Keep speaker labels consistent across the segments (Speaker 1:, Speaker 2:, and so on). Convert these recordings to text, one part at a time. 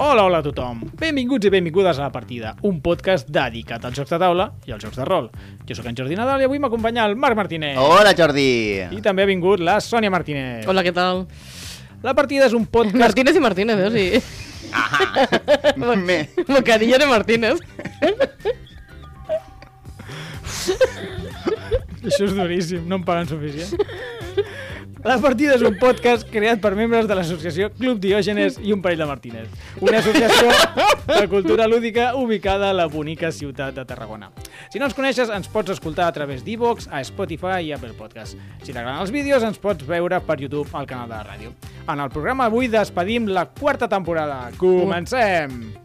Speaker 1: Hola, hola a tothom. Benvinguts i benvingudes a La Partida, un podcast dedicat als jocs de taula i als jocs de rol. Jo sóc en Jordi Nadal i avui m'acompanya el Marc Martínez.
Speaker 2: Hola, Jordi!
Speaker 1: Eh. I també ha vingut la Sònia Martínez.
Speaker 3: Hola, què tal?
Speaker 1: La Partida és un podcast...
Speaker 3: Martínez i Martínez, eh? O sigui,
Speaker 2: Me...
Speaker 3: Bocadillas de Martínez.
Speaker 1: Això és duríssim, no em paguen suficient. La partida és un podcast creat per membres de l'associació Club Diògenes i un parell de Martínez, una associació de cultura lúdica ubicada a la bonica ciutat de Tarragona. Si no ens coneixes, ens pots escoltar a través d'Evox, a Spotify i Apple Podcast. Si t'agraden els vídeos, ens pots veure per YouTube al canal de la ràdio. En el programa avui despedim la quarta temporada. Comencem!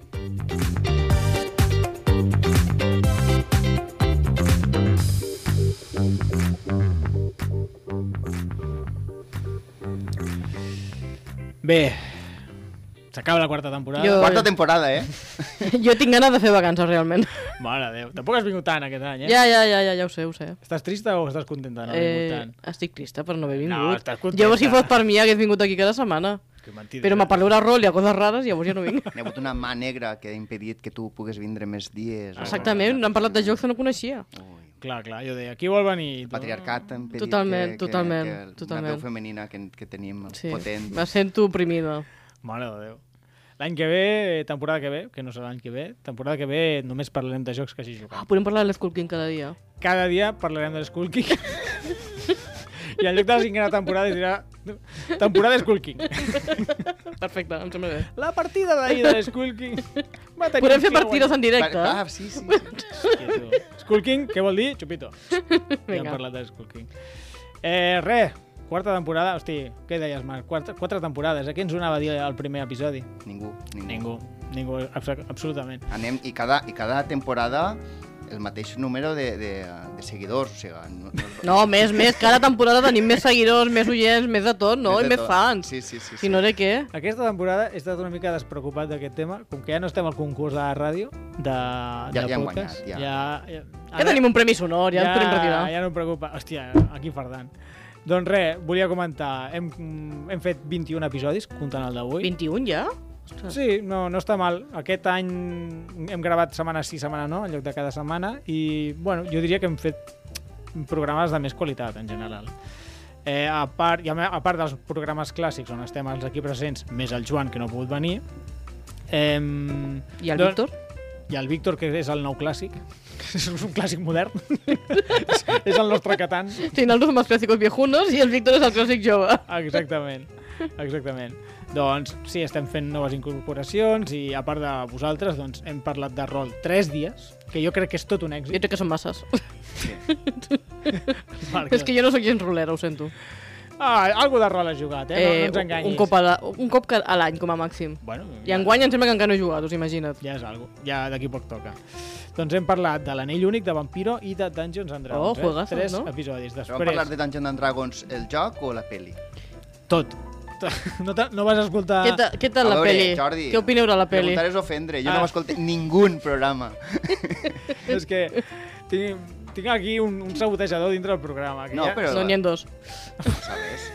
Speaker 1: Bé, s'acaba la quarta temporada.
Speaker 3: Jo-
Speaker 2: Quarta temporada, eh?
Speaker 3: Jo tinc ganes de fer vacances, realment.
Speaker 1: Mare de Déu, tampoc has vingut tant aquest any, eh?
Speaker 3: Ja, ja, ja, ja, ja ho sé, ho sé.
Speaker 1: Estàs trista o estàs contenta de no haver vingut
Speaker 3: Eh,
Speaker 1: tant?
Speaker 3: estic trista per no haver
Speaker 1: No,
Speaker 3: vingut.
Speaker 1: estàs contenta.
Speaker 3: jo, si fos per mi, hagués vingut aquí cada setmana.
Speaker 1: Que mentida. eh?
Speaker 3: Però me parleu de rol i a coses rares, llavors ja no vinc.
Speaker 2: Hi ha hagut una mà negra que ha impedit que tu puguis vindre més dies. o-
Speaker 3: Exactament, no han parlat de jocs que no coneixia.
Speaker 1: Clar, clar, jo deia, qui vol venir?
Speaker 2: El patriarcat ha impedit
Speaker 3: Totalment,
Speaker 2: que,
Speaker 3: totalment,
Speaker 2: que, que
Speaker 3: totalment.
Speaker 2: una veu femenina que, que tenim
Speaker 3: Sí,
Speaker 2: potent.
Speaker 3: me sento oprimida.
Speaker 1: Mare de Déu. L'any que ve, eh, temporada que ve, que no serà l'any que ve, temporada que ve només parlarem de jocs que hagi
Speaker 3: Ah,
Speaker 1: jugat.
Speaker 3: podem parlar de l'Skull King cada dia.
Speaker 1: Cada dia parlarem de Skull King. I en lloc de la cinquena temporada es dirà temporada Skull King.
Speaker 3: Perfecte, em sembla bé.
Speaker 1: La partida d'ahir de Skull King va tenir...
Speaker 3: Podem
Speaker 1: un
Speaker 3: fer
Speaker 1: final
Speaker 3: partides en directe.
Speaker 2: Pa-
Speaker 3: eh?
Speaker 2: Ah, sí, sí. sí.
Speaker 1: guanyat. Quieto. Skull King, què vol dir? Chupito. Ja hem
Speaker 3: Vinga.
Speaker 1: parlat de Skull King. Eh, re, quarta temporada, hosti, què deies, Marc? Quatre, quatre temporades, a què ens ho anava a dir el primer episodi?
Speaker 2: Ningú, ningú.
Speaker 1: Ningú, ningú, abso- absolutament.
Speaker 2: Anem, i, cada, I cada temporada el mateix número de, de, de seguidors, o sigui... No, no,
Speaker 3: No, més, més. Cada temporada tenim més seguidors, més oients, més de tot, no?
Speaker 2: de
Speaker 3: I més
Speaker 2: tot.
Speaker 3: fans.
Speaker 2: Sí, sí, sí.
Speaker 3: Si
Speaker 2: sí.
Speaker 3: no, de què?
Speaker 1: Aquesta temporada he estat una mica despreocupat d'aquest tema, com que ja no estem al concurs de la ràdio, de, de
Speaker 2: ja hem
Speaker 1: podcast.
Speaker 2: guanyat, ja.
Speaker 1: ja, ja,
Speaker 3: Ja tenim un premi sonor, ja,
Speaker 1: ja,
Speaker 3: ens podem retirar.
Speaker 1: ja no em preocupa. Hòstia, aquí fardant. Doncs res, volia comentar, hem, hem fet 21 episodis, comptant el d'avui.
Speaker 3: 21 ja? Ah.
Speaker 1: Sí, no, no està mal. Aquest any hem gravat setmana sí, setmana no, en lloc de cada setmana, i bueno, jo diria que hem fet programes de més qualitat, en general. Eh, a, part, i a, me- a part dels programes clàssics on estem els aquí presents, més el Joan, que no ha pogut venir, eh,
Speaker 3: I el Víctor?
Speaker 1: I el Víctor, que és el nou clàssic. és un clàssic modern. és, és el nostre Catan.
Speaker 3: Sí, nosaltres som els clàssicos viejunos i el Víctor és el clàssic jove.
Speaker 1: Exactament, exactament. Doncs sí, estem fent noves incorporacions i a part de vosaltres doncs, hem parlat de rol tres dies, que jo crec que és tot un
Speaker 3: Jo
Speaker 1: èxit.
Speaker 3: crec que són masses.
Speaker 1: Perquè...
Speaker 3: és que jo no sóc gens rolera, ho sento.
Speaker 1: Ah, algo de rol has jugat, eh? No, no ens
Speaker 3: un-
Speaker 1: enganyis.
Speaker 3: un, cop a la, un cop ca- a l'any, com a màxim.
Speaker 1: Bueno,
Speaker 3: I enguany em sembla que encara no he jugat, us imagina't.
Speaker 1: Ja és algo, ja d'aquí poc toca. Doncs hem parlat de l'anell únic, de Vampiro i de Dungeons and Dragons.
Speaker 3: Oh, juegazos,
Speaker 1: eh? Tres
Speaker 3: no?
Speaker 1: episodis.
Speaker 2: Però Vam parlar
Speaker 1: Després,
Speaker 2: de Dungeons and Dragons, el joc o la pel·li?
Speaker 1: tot. No, te- no vas escoltar...
Speaker 3: Què, ta, què
Speaker 2: A
Speaker 3: tal la
Speaker 2: veure,
Speaker 3: peli?
Speaker 2: Jordi,
Speaker 3: Què opineu de la peli?
Speaker 2: Preguntar és ofendre, jo
Speaker 1: Ah.
Speaker 2: no m'escolto ningú programa.
Speaker 1: És que tinc, tinc aquí un, un sabotejador dintre del programa. Que
Speaker 2: No,
Speaker 1: ja...
Speaker 2: però-
Speaker 3: No n'hi ha dos.
Speaker 2: Pues Sabes?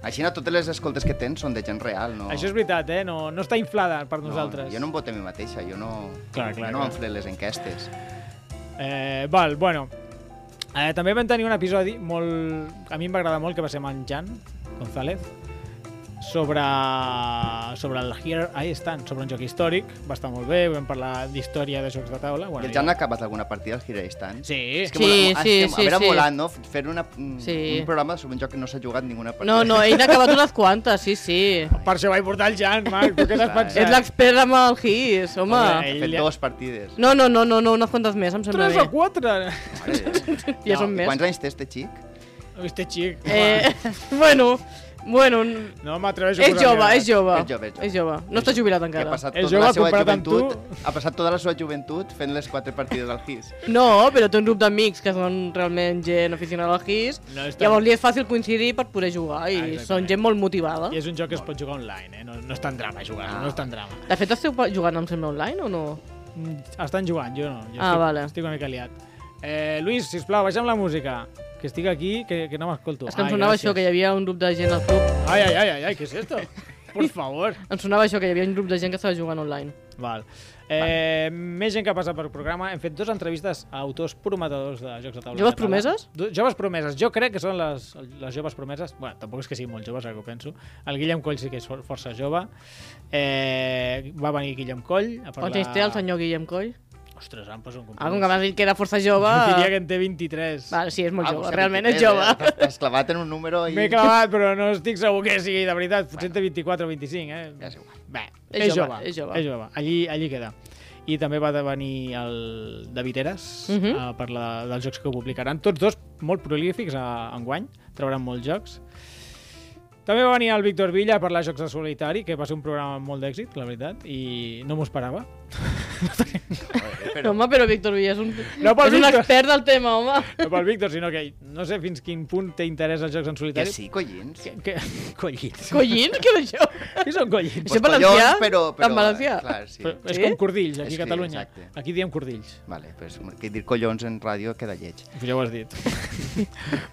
Speaker 2: Així, no, totes les escoltes que tens són de gent real, no?
Speaker 1: Això és veritat, eh? No, no està inflada per
Speaker 2: no,
Speaker 1: nosaltres.
Speaker 2: Jo no em voto a mi mateixa, jo no...
Speaker 1: Clar, clar,
Speaker 2: jo no
Speaker 1: clar.
Speaker 2: m'enflé les enquestes.
Speaker 1: Eh, val, bueno. Eh, també vam tenir un episodi molt... A mi em va agradar molt, que va ser amb en Jan González, sobre, sobre el Here I Stand, sobre un joc històric. Va estar molt bé, vam parlar d'història de jocs de taula.
Speaker 2: Bueno,
Speaker 1: Bueno,
Speaker 2: I el Jan ha acabat alguna partida al Gireistan?
Speaker 1: Sí.
Speaker 2: És que
Speaker 3: Sí,
Speaker 2: mola-
Speaker 3: sí,
Speaker 2: Ah, és que,
Speaker 3: sí,
Speaker 2: A veure,
Speaker 3: sí.
Speaker 2: molant, no? Fer una, un,
Speaker 3: Sí.
Speaker 2: un programa sobre un joc que no s'ha jugat ninguna partida.
Speaker 3: No, no, ell n'ha acabat unes quantes, sí, sí.
Speaker 1: Per això vaig portar el Jan, Marc, tu què t'has
Speaker 2: Clar, eh.
Speaker 1: pensat?
Speaker 3: Ets l'expert amb el His, home.
Speaker 2: Ha
Speaker 1: Home,
Speaker 2: fet
Speaker 1: Ell-
Speaker 2: dues partides.
Speaker 3: No, no, no, no, no, unes quantes més, em sembla
Speaker 1: Tres o
Speaker 3: bé.
Speaker 1: quatre!
Speaker 2: Mare de Déu.
Speaker 3: Ja
Speaker 2: No,
Speaker 3: són
Speaker 2: i
Speaker 3: més.
Speaker 2: Quants anys té este xic?
Speaker 1: Este xic.
Speaker 3: Eh, bueno, bueno, n-
Speaker 1: No m'atreveixo
Speaker 3: és jove, és jove.
Speaker 2: És jove, és jove.
Speaker 3: És jove. No està jubilat
Speaker 2: Que ha
Speaker 3: encara.
Speaker 2: passat
Speaker 1: El
Speaker 2: tota
Speaker 1: jove
Speaker 2: la seva
Speaker 1: comparat amb
Speaker 2: joventut,
Speaker 1: tu.
Speaker 2: ha passat tota la seva joventut fent les quatre partides al GIS.
Speaker 3: No, però té un grup d'amics que són realment gent aficionada al GIS.
Speaker 1: No, està-
Speaker 3: Llavors li és fàcil coincidir per poder jugar i
Speaker 1: Ah, exactament.
Speaker 3: són gent molt motivada.
Speaker 1: I és un joc que es pot jugar online, eh? No, no és tan drama jugar, no,
Speaker 2: Ah.
Speaker 1: no és tan drama.
Speaker 3: De fet, esteu pa- jugant, em sembla, online o no?
Speaker 1: Mm, Estan jugant, jo no. Jo
Speaker 3: Ah,
Speaker 1: estic,
Speaker 3: vale.
Speaker 1: estic una mica liat. Eh, Luis, sisplau, baixa'm la música, que estic aquí, que, que no m'escolto.
Speaker 3: És que em sonava això, que hi havia un grup de gent al club.
Speaker 1: Ai, ai, ai, ai, ai, què és esto? Por favor.
Speaker 3: Em sonava això, que hi havia un grup de gent que estava jugant online.
Speaker 1: Val. Eh, Més gent que passa per programa. Hem fet dues entrevistes a autors prometedors de jocs de taula.
Speaker 3: Joves
Speaker 1: en català.
Speaker 3: promeses?
Speaker 1: Du- Joves promeses. Jo crec que són les, les joves promeses. Bueno, tampoc és que siguin molt joves, ara que ho penso. El Guillem Coll sí que és for- força jove. Eh, va venir Guillem Coll a parlar...
Speaker 3: Quants anys té el senyor Guillem Coll?
Speaker 1: Ostres, em poso un compromís.
Speaker 3: Ah, com que m'has dit que era força jove...
Speaker 1: Jo diria que en té 23.
Speaker 3: Vale, sí, és molt
Speaker 2: Ah,
Speaker 3: jove,
Speaker 2: hòstia,
Speaker 3: realment és
Speaker 2: 23,
Speaker 3: jove.
Speaker 2: eh? T'has- T'has clavat en un número i...
Speaker 1: M'he clavat, però no estic segur que sigui de veritat. Potser en té 24 o 25, eh?
Speaker 2: Ja és igual.
Speaker 1: Bé,
Speaker 3: És
Speaker 1: és,
Speaker 3: jove,
Speaker 1: jove,
Speaker 3: és jove.
Speaker 1: És jove. Allí, allí queda. I també va venir el David Eres uh
Speaker 3: Mhm.
Speaker 1: -huh. a parlar dels jocs que publicaran. Tots dos molt prolífics a, enguany, trauran molts jocs. També va venir el Víctor Villa a parlar de jocs de solitari, que va ser un programa amb molt d'èxit, la veritat, i no m'ho esperava.
Speaker 2: Joder,
Speaker 3: Però...
Speaker 2: però...
Speaker 3: Home, però Víctor Villa és un,
Speaker 1: No pel
Speaker 3: és un
Speaker 1: Víctor.
Speaker 3: expert del tema, home.
Speaker 1: No pel Víctor, sinó que no sé fins quin punt té interès els jocs en
Speaker 2: Que
Speaker 1: solitari.
Speaker 2: sí, collins.
Speaker 1: Que, que... Collins.
Speaker 3: Collins, què és això?
Speaker 1: Què són collins?
Speaker 3: Això en valencià?
Speaker 2: però, però,
Speaker 3: En valencià?
Speaker 2: eh, Clar, sí.
Speaker 1: Però és
Speaker 3: Sí?
Speaker 1: com cordills, aquí
Speaker 2: És
Speaker 1: a
Speaker 2: que-
Speaker 1: Catalunya.
Speaker 2: exacte.
Speaker 1: Aquí diem cordills.
Speaker 2: Vale, pues, que dir collons en ràdio queda lleig.
Speaker 1: Ja ho has dit.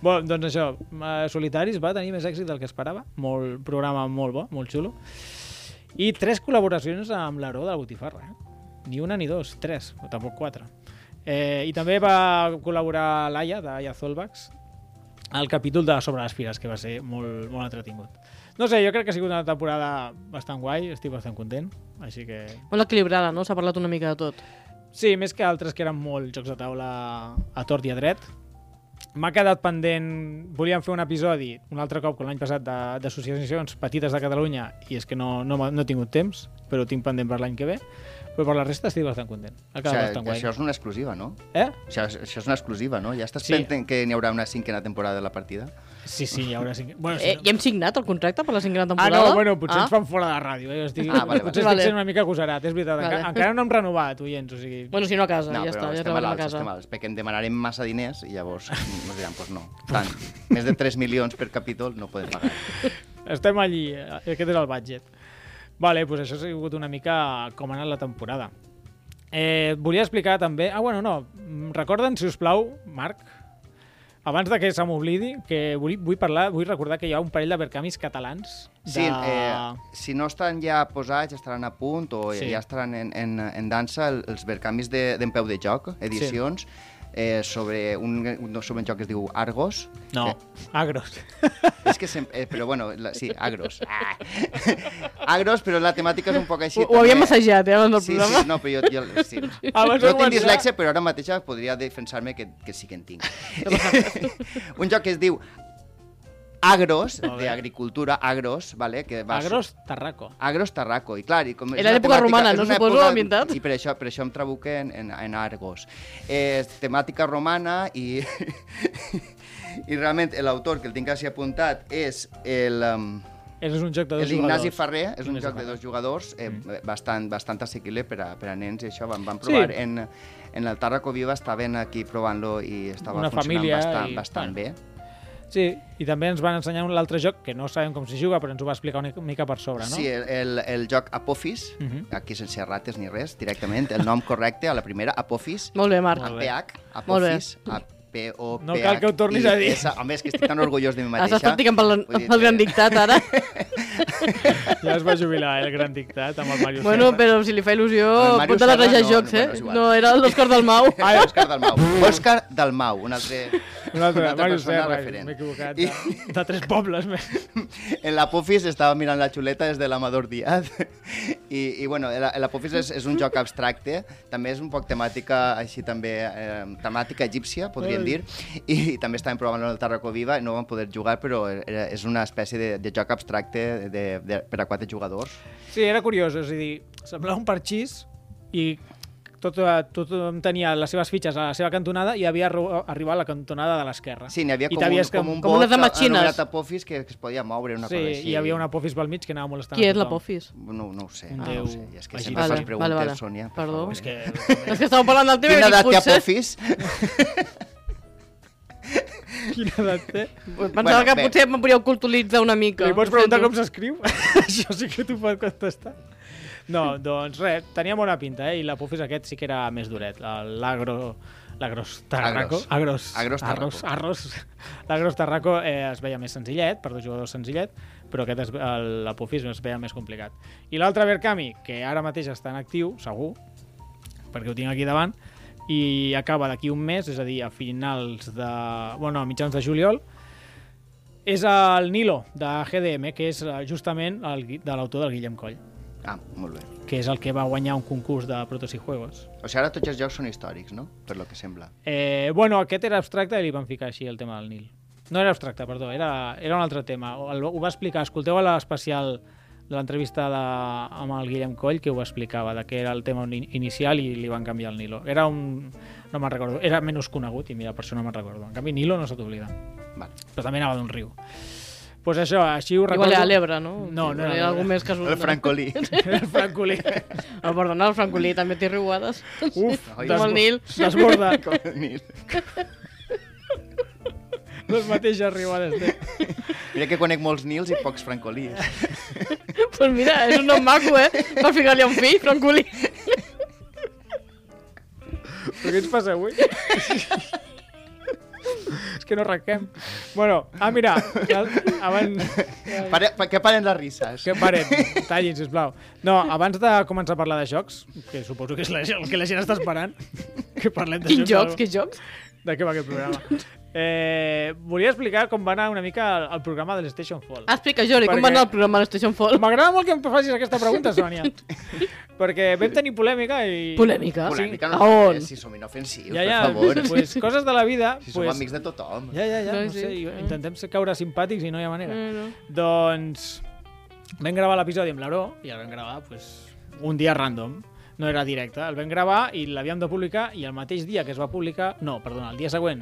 Speaker 1: bon, doncs això, eh, Solitaris va tenir més èxit del que esperava. Molt programa molt bo, molt xulo. I tres col·laboracions amb l'Aró de la Botifarra. Eh? Ni una ni dos, tres, o tampoc quatre. Eh, I també va col·laborar l'Aia, d'Aia Zolbax, al capítol de Sobre les Fires, que va ser molt, molt entretingut. No sé, jo crec que ha sigut una temporada bastant guai, estic bastant content, així que
Speaker 3: Molt equilibrada, no? S'ha parlat una mica de tot.
Speaker 1: Sí, més que altres que eren molt jocs de taula a tort i a dret. M'ha quedat pendent... Volíem fer un episodi un altre cop, com l'any passat, de- d'associacions petites de Catalunya i és que no, no, m'ha- no he tingut temps, però ho tinc pendent per l'any que ve. Però per la resta estic bastant content. Ha
Speaker 2: O
Speaker 1: quedat
Speaker 2: sigui,
Speaker 1: bastant guai.
Speaker 2: això és una exclusiva, no?
Speaker 1: Eh?
Speaker 2: Això, és- això és una exclusiva, no? Ja estàs
Speaker 1: Sí.
Speaker 2: sí. pensant que n'hi haurà una cinquena temporada de la partida?
Speaker 1: Sí, sí, hi haurà... Cinc... Bueno,
Speaker 3: Eh,
Speaker 1: sí,
Speaker 3: I hem signat el contracte per la cinquena
Speaker 1: Ah,
Speaker 3: temporada?
Speaker 1: no, bueno, potser ah?
Speaker 3: ah?
Speaker 1: ens fan fora de la ràdio. Eh? Jo Estic,
Speaker 2: Ah, vale, vale.
Speaker 1: potser
Speaker 3: Vale.
Speaker 1: estic sent una mica agosarat, és veritat. Vale.
Speaker 3: Vale.
Speaker 1: Encara, encara no hem renovat, oients, o sigui...
Speaker 3: Bueno, si no a casa,
Speaker 2: No,
Speaker 3: ja
Speaker 2: però
Speaker 3: està, ja
Speaker 2: estem
Speaker 3: treballem a
Speaker 2: malalts,
Speaker 3: casa.
Speaker 2: estem malalts, perquè en demanarem massa diners i llavors ens diran, doncs no, tant. Més de 3 milions per capítol no podem pagar.
Speaker 1: Estem allí, eh, aquest és el budget. Vale, doncs això ha sigut una mica com ha anat la temporada. Eh, volia explicar també... Ah, bueno, no. mm, Recorden, si us plau, Marc, abans de que se m'oblidi, que vull, vull, parlar, vull recordar que hi ha un parell de Bercamis catalans. De...
Speaker 2: Sí, eh, si no estan ja posats, estaran a punt o
Speaker 1: Sí.
Speaker 2: sí. ja estaran en, en, en dansa el- els vercamis de- d'en de, peu de joc, edicions, sí. eh, sobre, un, un- sobre un joc que es diu Argos.
Speaker 1: No,
Speaker 2: Que,
Speaker 1: agros.
Speaker 2: és que sempre, eh, però bueno, la, sí, Agros. Ah. Agros, però la temàtica és un poc així.
Speaker 3: Ho, ho havíem
Speaker 2: també.
Speaker 3: assajat, eh, abans del
Speaker 2: Sí,
Speaker 3: programa.
Speaker 2: sí, no, però jo, jo sí.
Speaker 1: Abans de
Speaker 2: no tinc
Speaker 1: començar-
Speaker 2: dislexia, però ara mateix podria defensar-me que, que sí que en tinc. un joc que es diu Agros,
Speaker 1: Molt bé.
Speaker 2: d'agricultura, Agros, vale, que va
Speaker 1: Agros, Tarraco.
Speaker 2: Agros Tarraco, i clar... I com és
Speaker 3: Era
Speaker 2: una
Speaker 3: d'època
Speaker 2: temàtica-
Speaker 3: romana,
Speaker 2: és
Speaker 3: no?
Speaker 2: una
Speaker 3: Suposo,
Speaker 2: època-
Speaker 3: ambientat.
Speaker 2: I per això, per això em trabuque en, en, en Argos. Eh, és temàtica romana i... I realment l'autor que el tinc així apuntat és el... um, em,
Speaker 1: És un joc de dos
Speaker 2: L'Ignasi
Speaker 1: jugadors.
Speaker 2: Ferrer és
Speaker 1: Ignasi
Speaker 2: un
Speaker 1: Mm.
Speaker 2: joc de
Speaker 1: Ferrer.
Speaker 2: dos jugadors eh, bastant, bastant assequible per a, per a nens i això vam, vam
Speaker 1: Sí.
Speaker 2: provar sí. en, en el Tarraco Viva estaven aquí provant-lo i estava
Speaker 1: Una
Speaker 2: funcionant
Speaker 1: família
Speaker 2: bastant,
Speaker 1: i-
Speaker 2: bastant
Speaker 1: bueno.
Speaker 2: bé.
Speaker 1: Sí, i també ens van ensenyar un altre joc que no sabem com s'hi juga, però ens ho va explicar una mica per sobre, no?
Speaker 2: Sí, el, el, el joc Apophis,
Speaker 1: Mhm.
Speaker 2: aquí sense rates ni res, directament, el nom correcte a la primera, Apophis,
Speaker 3: Molt bé, Marc.
Speaker 1: Molt bé.
Speaker 2: APH,
Speaker 3: Molt bé.
Speaker 2: Apophis, a p o p
Speaker 1: No cal que ho tornis a dir.
Speaker 2: Home, és que estic tan orgullós de mi
Speaker 3: Has
Speaker 2: mateixa.
Speaker 3: estat practicant pel,
Speaker 2: Vull dir
Speaker 3: pel gran
Speaker 2: que-
Speaker 3: dictat, ara.
Speaker 1: Ja es va jubilar el gran dictat amb el Mario
Speaker 3: bueno,
Speaker 1: Serra.
Speaker 3: però si li fa il·lusió,
Speaker 2: Amb el Màrius
Speaker 3: pot alegrejar
Speaker 2: Serra, no,
Speaker 3: jocs,
Speaker 2: no,
Speaker 3: eh?
Speaker 2: bueno, és igual.
Speaker 3: No, era el d'Òscar del Mau.
Speaker 2: Ah, Òscar Dalmau. Òscar Dalmau, un altre,
Speaker 1: Un altre,
Speaker 2: una altra
Speaker 1: Mario
Speaker 2: persona
Speaker 1: Serra,
Speaker 2: referent.
Speaker 1: m'he equivocat.
Speaker 2: I-
Speaker 1: De, de tres pobles més.
Speaker 2: En l'Apofis estava mirant la xuleta des de l'Amador Díaz i, i bueno, el- l'Apofis és, és un joc abstracte, també és un poc temàtica així també, eh, temàtica egípcia, podríem
Speaker 1: Ai.
Speaker 2: dir, i, i també estàvem provant el Tarraco Viva, no vam poder jugar, però era, és una espècie de, de joc abstracte de, de, per a quatre jugadors.
Speaker 1: Sí, era curiós, és a dir, semblava un parxís i tot, eh, tothom tenia les seves fitxes a la seva cantonada i havia arru- arribat a la cantonada de l'esquerra.
Speaker 2: Sí, n'hi havia
Speaker 1: I
Speaker 2: com un,
Speaker 1: t'havies
Speaker 2: com un
Speaker 3: com
Speaker 2: bot
Speaker 3: unes damatxines.
Speaker 2: anomenat Apofis que, que es podia moure, una
Speaker 1: sí,
Speaker 2: cosa així.
Speaker 1: hi havia un apofis pel mig que anava molestant
Speaker 3: Qui
Speaker 1: a
Speaker 3: és
Speaker 1: tothom.
Speaker 3: l'Apofis?
Speaker 2: No, no ho sé,
Speaker 1: Un
Speaker 2: no,
Speaker 1: déu
Speaker 2: ho sé. És que
Speaker 1: egipci.
Speaker 2: sempre
Speaker 1: Vale,
Speaker 2: fas preguntes,
Speaker 3: vale, vale.
Speaker 2: Sònia. per
Speaker 3: Perdó.
Speaker 2: favor.
Speaker 1: És que...
Speaker 3: És que estàvem parlant del tema i
Speaker 2: Quina
Speaker 3: he dit,
Speaker 2: edat té
Speaker 3: potser...
Speaker 2: Apofis?
Speaker 1: Quina edat té?
Speaker 3: Pensava que
Speaker 2: bé.
Speaker 3: potser em podíeu culturitzar una mica.
Speaker 1: Li pots
Speaker 3: Ho
Speaker 1: preguntar
Speaker 3: sento.
Speaker 1: com s'escriu? Això sí que t'ho pot contestar. No, doncs res, tenia bona pinta, eh? I l'apofis aquest sí que era més duret. el- L'agro... L'agros Tarraco. Agros. Arros,
Speaker 2: Agros Tarraco.
Speaker 1: arros. L'agros Tarraco eh, es veia més senzillet, per dos jugadors senzillet, però aquest es, el- l'apofis es veia més complicat. I l'altre Berkami, que ara mateix està en actiu, segur, perquè ho tinc aquí davant, i acaba d'aquí un mes, és a dir, a finals de... Bueno, a mitjans de juliol, és el Nilo, de GDM, que és eh, justament el, gui- de l'autor del Guillem Coll
Speaker 2: Ah, molt bé.
Speaker 1: que és el que va guanyar un concurs de Protos i Juegos.
Speaker 2: O sigui, ara tots els jocs són històrics, no? Per lo que sembla.
Speaker 1: Eh, bueno, aquest era abstracte i li van ficar així el tema del Nil. No era abstracte, perdó, era, era un altre tema. Ho, el- ho va explicar, escolteu a l'especial de l'entrevista de- amb el Guillem Coll que ho explicava, de que era el tema in- inicial i li van canviar el Nilo. Era un... no me'n recordo, era menys conegut i mira, per això no me'n recordo. En canvi, Nilo no se t'oblida,
Speaker 2: Vale.
Speaker 1: però també anava d'un riu. Pues això, així ho recordo.
Speaker 3: Igual era l'Ebre, no?
Speaker 1: No, no era
Speaker 3: era
Speaker 1: l'Ebre.
Speaker 3: algú més casual.
Speaker 2: El francolí.
Speaker 1: Era el francolí.
Speaker 3: Oh, perdona, el francolí també té riuades.
Speaker 1: Uf,
Speaker 2: Oi,
Speaker 1: desbo-
Speaker 2: com el
Speaker 3: Nil.
Speaker 1: Desborda.
Speaker 2: Com el Nil.
Speaker 1: Les mateixes riuades. té.
Speaker 2: Mira que conec molts Nils i pocs francolís.
Speaker 3: Doncs pues mira, és un nom maco, eh? Per ficar-li un fill, francolí.
Speaker 1: Però què ens passa avui? És que no arrenquem. Bueno, ah, mira, el- abans...
Speaker 2: Pare, pa, que paren les risses.
Speaker 1: Que parem, tallin, sisplau. No, abans de començar a parlar de jocs, que suposo que és la, el que la gent està esperant, que parlem de
Speaker 3: Quins jocs,
Speaker 1: algo.
Speaker 3: quins jocs.
Speaker 1: De què va aquest programa? Eh, volia explicar com va anar una mica el, el programa de l'Station Fall.
Speaker 2: Ah,
Speaker 3: Explica, Jordi, com
Speaker 1: Perquè-
Speaker 3: va anar el programa de Station Fall?
Speaker 1: M'agrada molt que em facis aquesta pregunta, Sònia. perquè vam tenir polèmica i...
Speaker 3: Polèmica.
Speaker 2: Polèmica,
Speaker 3: A
Speaker 2: no,
Speaker 3: on?
Speaker 2: eh, si som inofensius,
Speaker 1: Ja, ja,
Speaker 2: per favor.
Speaker 1: pues, coses de la vida...
Speaker 2: Si som
Speaker 1: pues,
Speaker 2: amics de tothom.
Speaker 1: Ja, ja, ja, no,
Speaker 3: No,
Speaker 1: no
Speaker 3: sí.
Speaker 1: sé, i-
Speaker 3: Ah.
Speaker 1: intentem ser- caure simpàtics i Ah, no hi ha manera.
Speaker 3: No, no.
Speaker 1: Doncs vam gravar l'episodi amb l'Aró i el vam gravar pues, un dia random, no era directe. El vam gravar i l'havíem de publicar i el mateix dia que es va publicar, no, perdona, el dia següent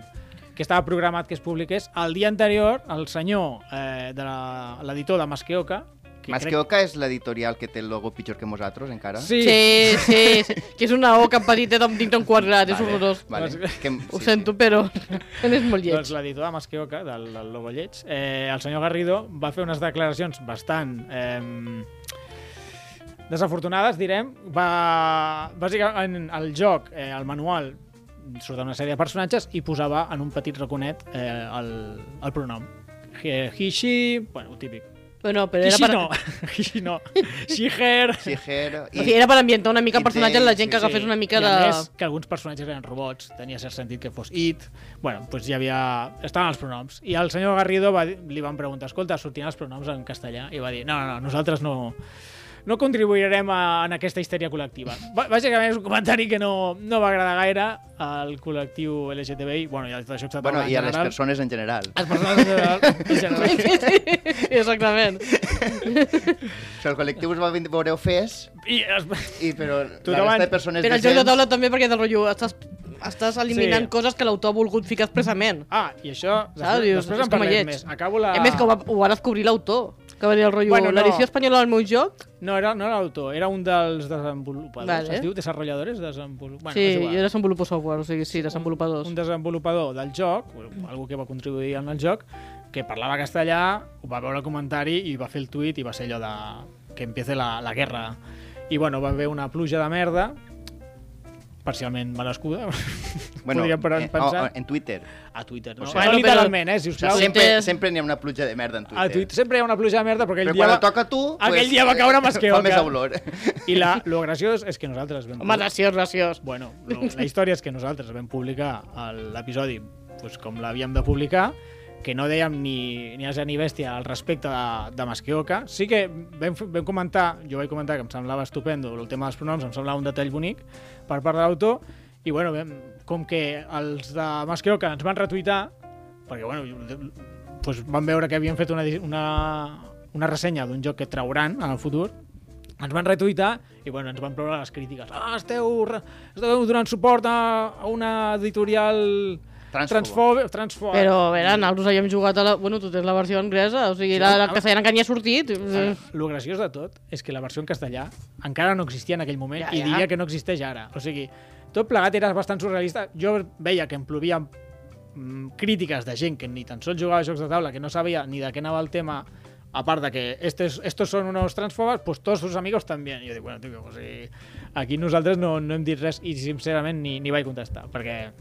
Speaker 1: que estava programat que es publiqués, el dia anterior el senyor eh, de la- l'editor de Masqueoca que
Speaker 2: Más que Oca és l'editorial que té el logo pitjor que nosaltres, encara.
Speaker 1: Sí,
Speaker 3: Sí, sí, sí, que és una oca petiteta amb dintre un quadrat, és
Speaker 2: Vale,
Speaker 3: horrorós.
Speaker 2: Vale.
Speaker 1: Doncs-
Speaker 2: Que,
Speaker 3: Ho sento, però és molt lleig.
Speaker 1: Doncs l'editor de Masqueoca, del, del Lobo Lleig, eh, el senyor Garrido va fer unes declaracions bastant... Eh, desafortunades, direm. Va, bàsicament, el joc, eh, el manual, surt una sèrie de personatges i posava en un petit raconet eh, el, el pronom. He, he, she... Bueno, el típic.
Speaker 3: Bueno, però
Speaker 1: He,
Speaker 3: era
Speaker 1: she
Speaker 3: per...
Speaker 1: no. He, she no. She, her...
Speaker 2: Sí, Ger,
Speaker 3: O sigui, era per ambientar una mica
Speaker 2: i
Speaker 3: el personatge en la gent
Speaker 2: Dave,
Speaker 3: que
Speaker 2: sí,
Speaker 3: agafés una mica
Speaker 1: I
Speaker 3: de...
Speaker 1: a més, que alguns personatges eren robots, tenia cert sentit que fos It. bueno, doncs hi havia... Estaven els pronoms. I el senyor Garrido va, dir- li van preguntar, escolta, sortiran els pronoms en castellà? I va dir, no, no, no nosaltres no... No contribuirem a, en aquesta histèria col·lectiva. Bà- Bàsicament és un comentari que no, no va agradar gaire al col·lectiu LGTBI, bueno, i als de jocs de
Speaker 2: Bueno,
Speaker 1: taula en
Speaker 2: i a les
Speaker 1: general.
Speaker 2: persones en general.
Speaker 3: Ah.
Speaker 1: Les persones en general. en general.
Speaker 3: Sí, Exactament.
Speaker 2: O sigui, el col·lectiu us va vindre- veureu fes,
Speaker 1: I els...
Speaker 2: i, però la
Speaker 1: Tothom-
Speaker 2: resta de persones
Speaker 3: Però el joc
Speaker 2: decents...
Speaker 3: de taula també perquè del rotllo estàs, estàs eliminant
Speaker 1: Sí.
Speaker 3: coses que l'autor ha volgut ficar expressament.
Speaker 1: Ah, i això...
Speaker 3: Saps?
Speaker 1: Després,
Speaker 3: Dius,
Speaker 1: després
Speaker 3: és
Speaker 1: en
Speaker 3: com a
Speaker 1: parlem
Speaker 3: lleig.
Speaker 1: més. Acabo la...
Speaker 3: A més, que ho va, ho va descobrir l'autor. Que va dir el rotllo,
Speaker 1: Bueno,
Speaker 3: bueno,
Speaker 1: no.
Speaker 3: l'edició espanyola del meu joc...
Speaker 1: No, era, no era l'autor, era un dels desenvolupadors. Vale.
Speaker 3: Vale.
Speaker 1: Es diu desenvolupadors? Desenvolu... Bueno, és
Speaker 3: sí,
Speaker 1: igual.
Speaker 3: jo desenvolupo software, o sigui, sí, desenvolupadors.
Speaker 1: Un desenvolupador del joc, o algú que va contribuir en el joc, que parlava castellà, ho va veure el comentari i va fer el tuit i va ser allò de que empiece la, la guerra. I bueno, va haver una pluja de merda, parcialment merescuda, bueno, podríem
Speaker 2: eh,
Speaker 1: per- pensar,
Speaker 2: o- o en Twitter.
Speaker 1: a Twitter. No,
Speaker 2: O
Speaker 1: o
Speaker 2: sigui-
Speaker 1: sigui, no
Speaker 3: Bueno, però-
Speaker 1: literalment, eh, si us plau.
Speaker 2: sempre
Speaker 3: Twitter-
Speaker 2: sempre n'hi ha una pluja de merda en Twitter.
Speaker 1: A Ah, Twitter sempre hi ha una pluja de merda, però aquell
Speaker 2: Però
Speaker 1: dia
Speaker 2: quan
Speaker 1: va...
Speaker 2: va... toca a tu...
Speaker 1: aquell dia va caure més que
Speaker 2: Fa
Speaker 1: oca.
Speaker 2: més olor.
Speaker 1: I la, lo graciós és que nosaltres vam...
Speaker 3: Home, graciós, graciós.
Speaker 1: Bueno, lo, la història és que nosaltres vam publicar el- l'episodi pues, com l'havíem de publicar, que no dèiem ni, ni asa ni bèstia al respecte de, de Masquioca. Sí que vam, f- vam comentar, jo vaig comentar que em semblava estupendo el tema dels pronoms, em semblava un detall bonic per part de l'autor, i bueno, vam, com que els de Masquioca ens van retuitar, perquè bueno, jo- pues, van veure que havien fet una, di- una, una ressenya d'un joc que trauran en el futur, ens van retuitar i bueno, ens van ploure les crítiques. Ah, esteu, re- esteu donant suport a, a una editorial
Speaker 2: Transfoba.
Speaker 1: transfob... transfob...
Speaker 3: Però, a veure, nosaltres havíem jugat a la... Bueno, tu tens la versió anglesa, o sigui, la, la castellana que n'hi ha sortit.
Speaker 1: Ara, Lo graciós de tot és que la versió en castellà encara no existia en aquell moment
Speaker 3: Ja,
Speaker 1: i
Speaker 3: ja.
Speaker 1: diria que no existeix ara. O sigui, tot plegat era bastant surrealista. Jo veia que em plovien mm, crítiques de gent que ni tan sols jugava a jocs de taula, que no sabia ni de què anava el tema aparte de que estes- estos son unos transfobas, pues todos sus amigos también. Y yo digo, bueno, tio, o sigui, aquí nosaltres no, no hem dit res i sincerament ni, ni vaig contestar, perquè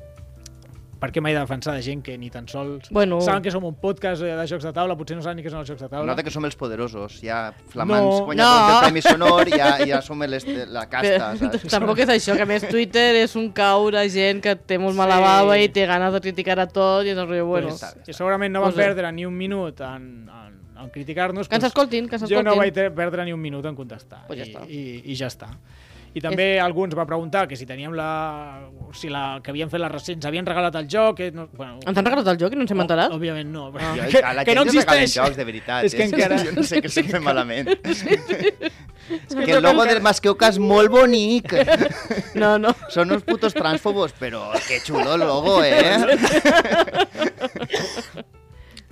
Speaker 1: per què mai defensar de gent que ni tan sols
Speaker 3: Bueno.
Speaker 1: saben que som un podcast eh, de jocs de taula, potser no saben ni què són els jocs de taula.
Speaker 2: Nota que som els poderosos, ja flamants,
Speaker 1: No.
Speaker 2: guanyadors
Speaker 3: No.
Speaker 2: del Premi Sonor, ja, ja som les, la casta, saps?
Speaker 3: Eh, Tampoc és això, que a més Twitter és un cau de gent que té molt mala
Speaker 1: Sí.
Speaker 3: bava i té ganes de criticar a tot i és el rotllo, bueno...
Speaker 1: Pues, I segurament no van
Speaker 3: Pues bé.
Speaker 1: perdre ni un minut en, en, en criticar-nos.
Speaker 3: Que ens
Speaker 1: pues,
Speaker 3: escoltin, que ens
Speaker 1: Jo no
Speaker 3: escoltin.
Speaker 1: vaig ter- perdre ni un minut en contestar.
Speaker 3: Pues ja
Speaker 1: i,
Speaker 3: està.
Speaker 1: i, I ja està. I també és... algú ens va preguntar que si teníem la... si la que havien fet la recent, ens havien regalat el joc... Que no, bueno,
Speaker 3: Ens han regalat el joc i
Speaker 1: Oh,
Speaker 3: no ens hem enterat? Ah.
Speaker 1: Òbviament no. però-
Speaker 2: Jo,
Speaker 1: Ah. que,
Speaker 2: a la
Speaker 1: que
Speaker 2: gent
Speaker 1: no
Speaker 2: li regalen
Speaker 1: existeix.
Speaker 2: jocs, de veritat. eh?
Speaker 1: És que encara...
Speaker 2: Jo no sé què estem fent malament.
Speaker 1: que
Speaker 2: que el logo
Speaker 1: encara-
Speaker 2: del Masqueuca és molt bonic.
Speaker 3: No, no.
Speaker 2: Són uns putos transfobos, però que xulo el logo, eh?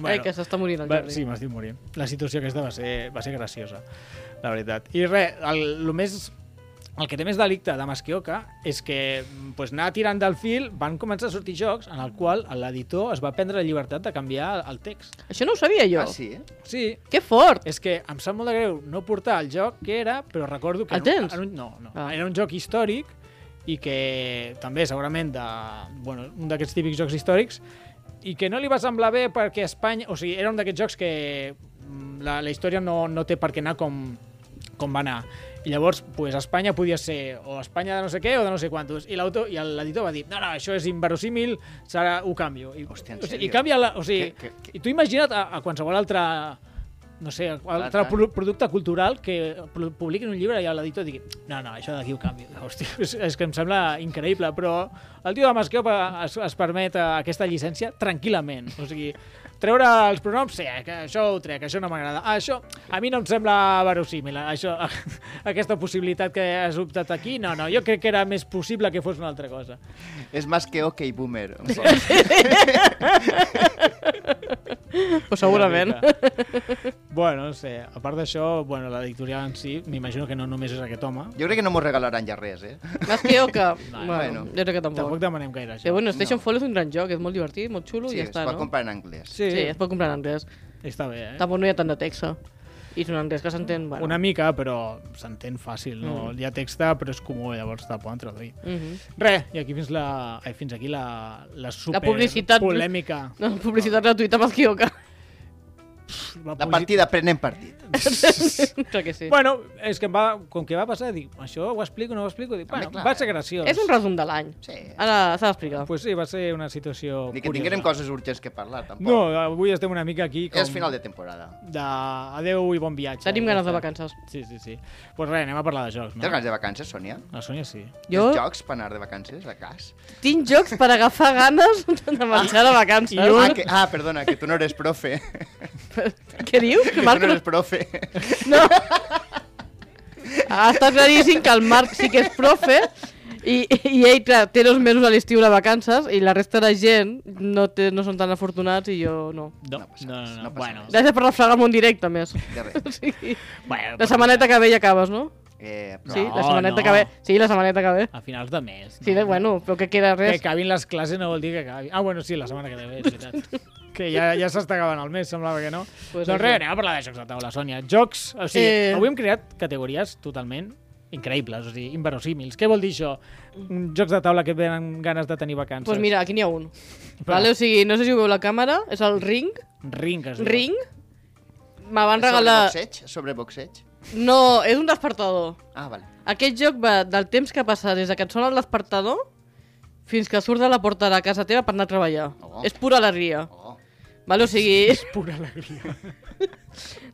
Speaker 3: Ai, que s'està morint el
Speaker 1: Va,
Speaker 3: Jordi.
Speaker 1: sí, m'estic morint. La situació aquesta va ser, va ser graciosa, la veritat. I res, el, el més... El que té més delicte de Masquioca és que mm, pues, anar tirant del fil van començar a sortir jocs en el qual l'editor es va prendre la llibertat de canviar el text.
Speaker 3: Això no ho sabia jo.
Speaker 2: Ah, sí?
Speaker 1: Sí,
Speaker 3: Que fort!
Speaker 1: és que em sap molt de greu no portar el joc que era, però recordo que...
Speaker 3: El
Speaker 1: era un-
Speaker 3: tens?
Speaker 1: Era un, no, no. Ah.
Speaker 3: Ah.
Speaker 1: Era un joc històric i que també segurament de, bueno, un d'aquests típics jocs històrics i que no li va semblar bé perquè Espanya... O sigui, era un d'aquests jocs que mm, la, la història no, no té per què anar com, com va anar. I llavors, pues, Espanya podia ser o Espanya de no sé què o de no sé quantos. I l'autor i l'editor va dir, no, no, això és inverosímil, serà, ho canvio. I,
Speaker 2: Hòstia, en
Speaker 1: o sigui,
Speaker 2: sèrio?
Speaker 1: I canvia la, o sigui,
Speaker 2: Que- que-
Speaker 1: i tu imagina't a, a qualsevol altre no sé, a qual- altre
Speaker 2: Clar, clar.
Speaker 1: pro producte cultural que pro- publiquin un llibre i l'editor digui no, no, això d'aquí ho canvio. Hòstia, és, és que em sembla increïble, però el tio de Masqueu es, es permet eh, aquesta llicència tranquil·lament. O sigui, treure els pronoms, sí, eh, que això ho trec, això no m'agrada. Ah, això a mi no em sembla verosímil, eh, això, aquesta possibilitat que has optat aquí, no, no, jo crec que era més possible que fos una altra cosa.
Speaker 2: És més que OK Boomer.
Speaker 3: Pues segurament.
Speaker 1: Bueno, no sé, a part d'això, bueno, l'editorial en si, m'imagino que no només és aquest home.
Speaker 2: Jo crec que no mos regalaran ja res, eh?
Speaker 3: Més que jo que...
Speaker 2: bueno.
Speaker 3: Bueno, jo crec que
Speaker 1: Tampoc
Speaker 3: tampoc.
Speaker 1: demanem gaire
Speaker 3: Però
Speaker 1: això.
Speaker 3: bueno, Station
Speaker 2: No.
Speaker 3: Fall és un gran joc, és molt divertit, molt xulo
Speaker 2: Sí,
Speaker 3: i ja
Speaker 2: es
Speaker 3: està,
Speaker 2: pot
Speaker 3: no?
Speaker 2: comprar en anglès.
Speaker 1: Sí,
Speaker 3: Sí, es pot comprar en anglès.
Speaker 1: està bé, eh?
Speaker 3: Tampoc no hi ha tant de texa. I és un anglès que s'entén... Bueno. Mm.
Speaker 1: Una mica, però s'entén fàcil, no? Hi ha texta, però és comú, eh? llavors te poden traduir.
Speaker 3: Mhm.
Speaker 1: Res, i aquí fins, la, ai, fins aquí la, la super
Speaker 3: publicitat-
Speaker 1: polèmica.
Speaker 3: No, publicitat gratuïta amb el Kioka.
Speaker 2: La partida prenem partit.
Speaker 3: Clar que sí.
Speaker 1: Bueno, és que em va, com que va passar, dic, això ho explico, no ho explico? Dic,
Speaker 2: Home,
Speaker 1: bueno,
Speaker 2: clar.
Speaker 1: va ser graciós.
Speaker 3: és un resum de l'any.
Speaker 2: Sí.
Speaker 1: Ah,
Speaker 3: Ara s'ha d'explicar.
Speaker 1: Pues sí, va ser una situació
Speaker 2: Ni que
Speaker 1: curiosa.
Speaker 2: tinguérem coses urgents que parlar, tampoc.
Speaker 1: No, avui estem una mica aquí com...
Speaker 2: És final de temporada.
Speaker 1: de adeu i bon viatge.
Speaker 3: Tenim
Speaker 1: Ja
Speaker 3: ganes
Speaker 1: està.
Speaker 3: de vacances.
Speaker 1: Sí, sí, sí. Doncs pues res, anem a parlar de jocs, no?
Speaker 2: Tens ganes de vacances, Sònia?
Speaker 1: La Sònia sí.
Speaker 3: Jo
Speaker 2: Tens jocs per anar de vacances, a cas?
Speaker 3: tinc jocs per agafar ganes de marxar de vacances.
Speaker 1: I un-
Speaker 2: Ah, que, ah, perdona, que tu no eres profe.
Speaker 3: Què dius? Que
Speaker 2: Tu
Speaker 3: Marc
Speaker 2: no
Speaker 3: no
Speaker 2: eres profe.
Speaker 3: No. Està claríssim que el Marc sí que és profe i, i ell, clar, té dos mesos a l'estiu de vacances i la resta de gent no, té, no són tan afortunats i jo no.
Speaker 1: No,
Speaker 2: No passa
Speaker 1: no, no,
Speaker 2: res,
Speaker 1: no,
Speaker 2: no passa
Speaker 1: bueno.
Speaker 2: res.
Speaker 3: Gràcies per refregar-me un directe, a més.
Speaker 2: De res.
Speaker 3: Sí.
Speaker 1: bueno
Speaker 3: La setmaneta que ve ja acabes, no?
Speaker 2: Eh,
Speaker 1: No,
Speaker 3: Sí, la setmaneta
Speaker 1: no.
Speaker 3: que ve. Sí, la setmaneta que ve.
Speaker 1: A finals de mes.
Speaker 3: Sí, de, bueno, però que queda
Speaker 1: Que
Speaker 3: res.
Speaker 1: acabin les classes no vol dir que acabi. Ah, bueno, sí, la setmana que ve, és veritat. que ja, ja s'està acabant el mes, semblava que no.
Speaker 3: Pues
Speaker 1: doncs
Speaker 3: això.
Speaker 1: res, anem a parlar de jocs de taula, Sònia. Jocs, o sigui, eh...
Speaker 3: Eh.
Speaker 1: avui hem creat categories totalment increïbles, o sigui, inverosímils. Què vol dir això? Mm, Jocs de taula que et venen ganes de tenir vacances.
Speaker 3: Doncs pues mira, aquí n'hi ha un. Vale? O sigui, no sé si ho veu la càmera, és el Ring.
Speaker 1: Ring, es diu.
Speaker 3: Ring. Me van
Speaker 2: Sobre
Speaker 3: regalar...
Speaker 2: boxeig? Sobre boxeig?
Speaker 3: No, és un despertador.
Speaker 2: Ah, vale.
Speaker 3: Aquest joc va del temps que passa des de que et sona el despertador fins que surts de la porta de casa teva per anar a treballar.
Speaker 2: Oh.
Speaker 3: És pura alegria.
Speaker 2: Oh.
Speaker 3: Vale? O sigui,
Speaker 1: Pura alegria.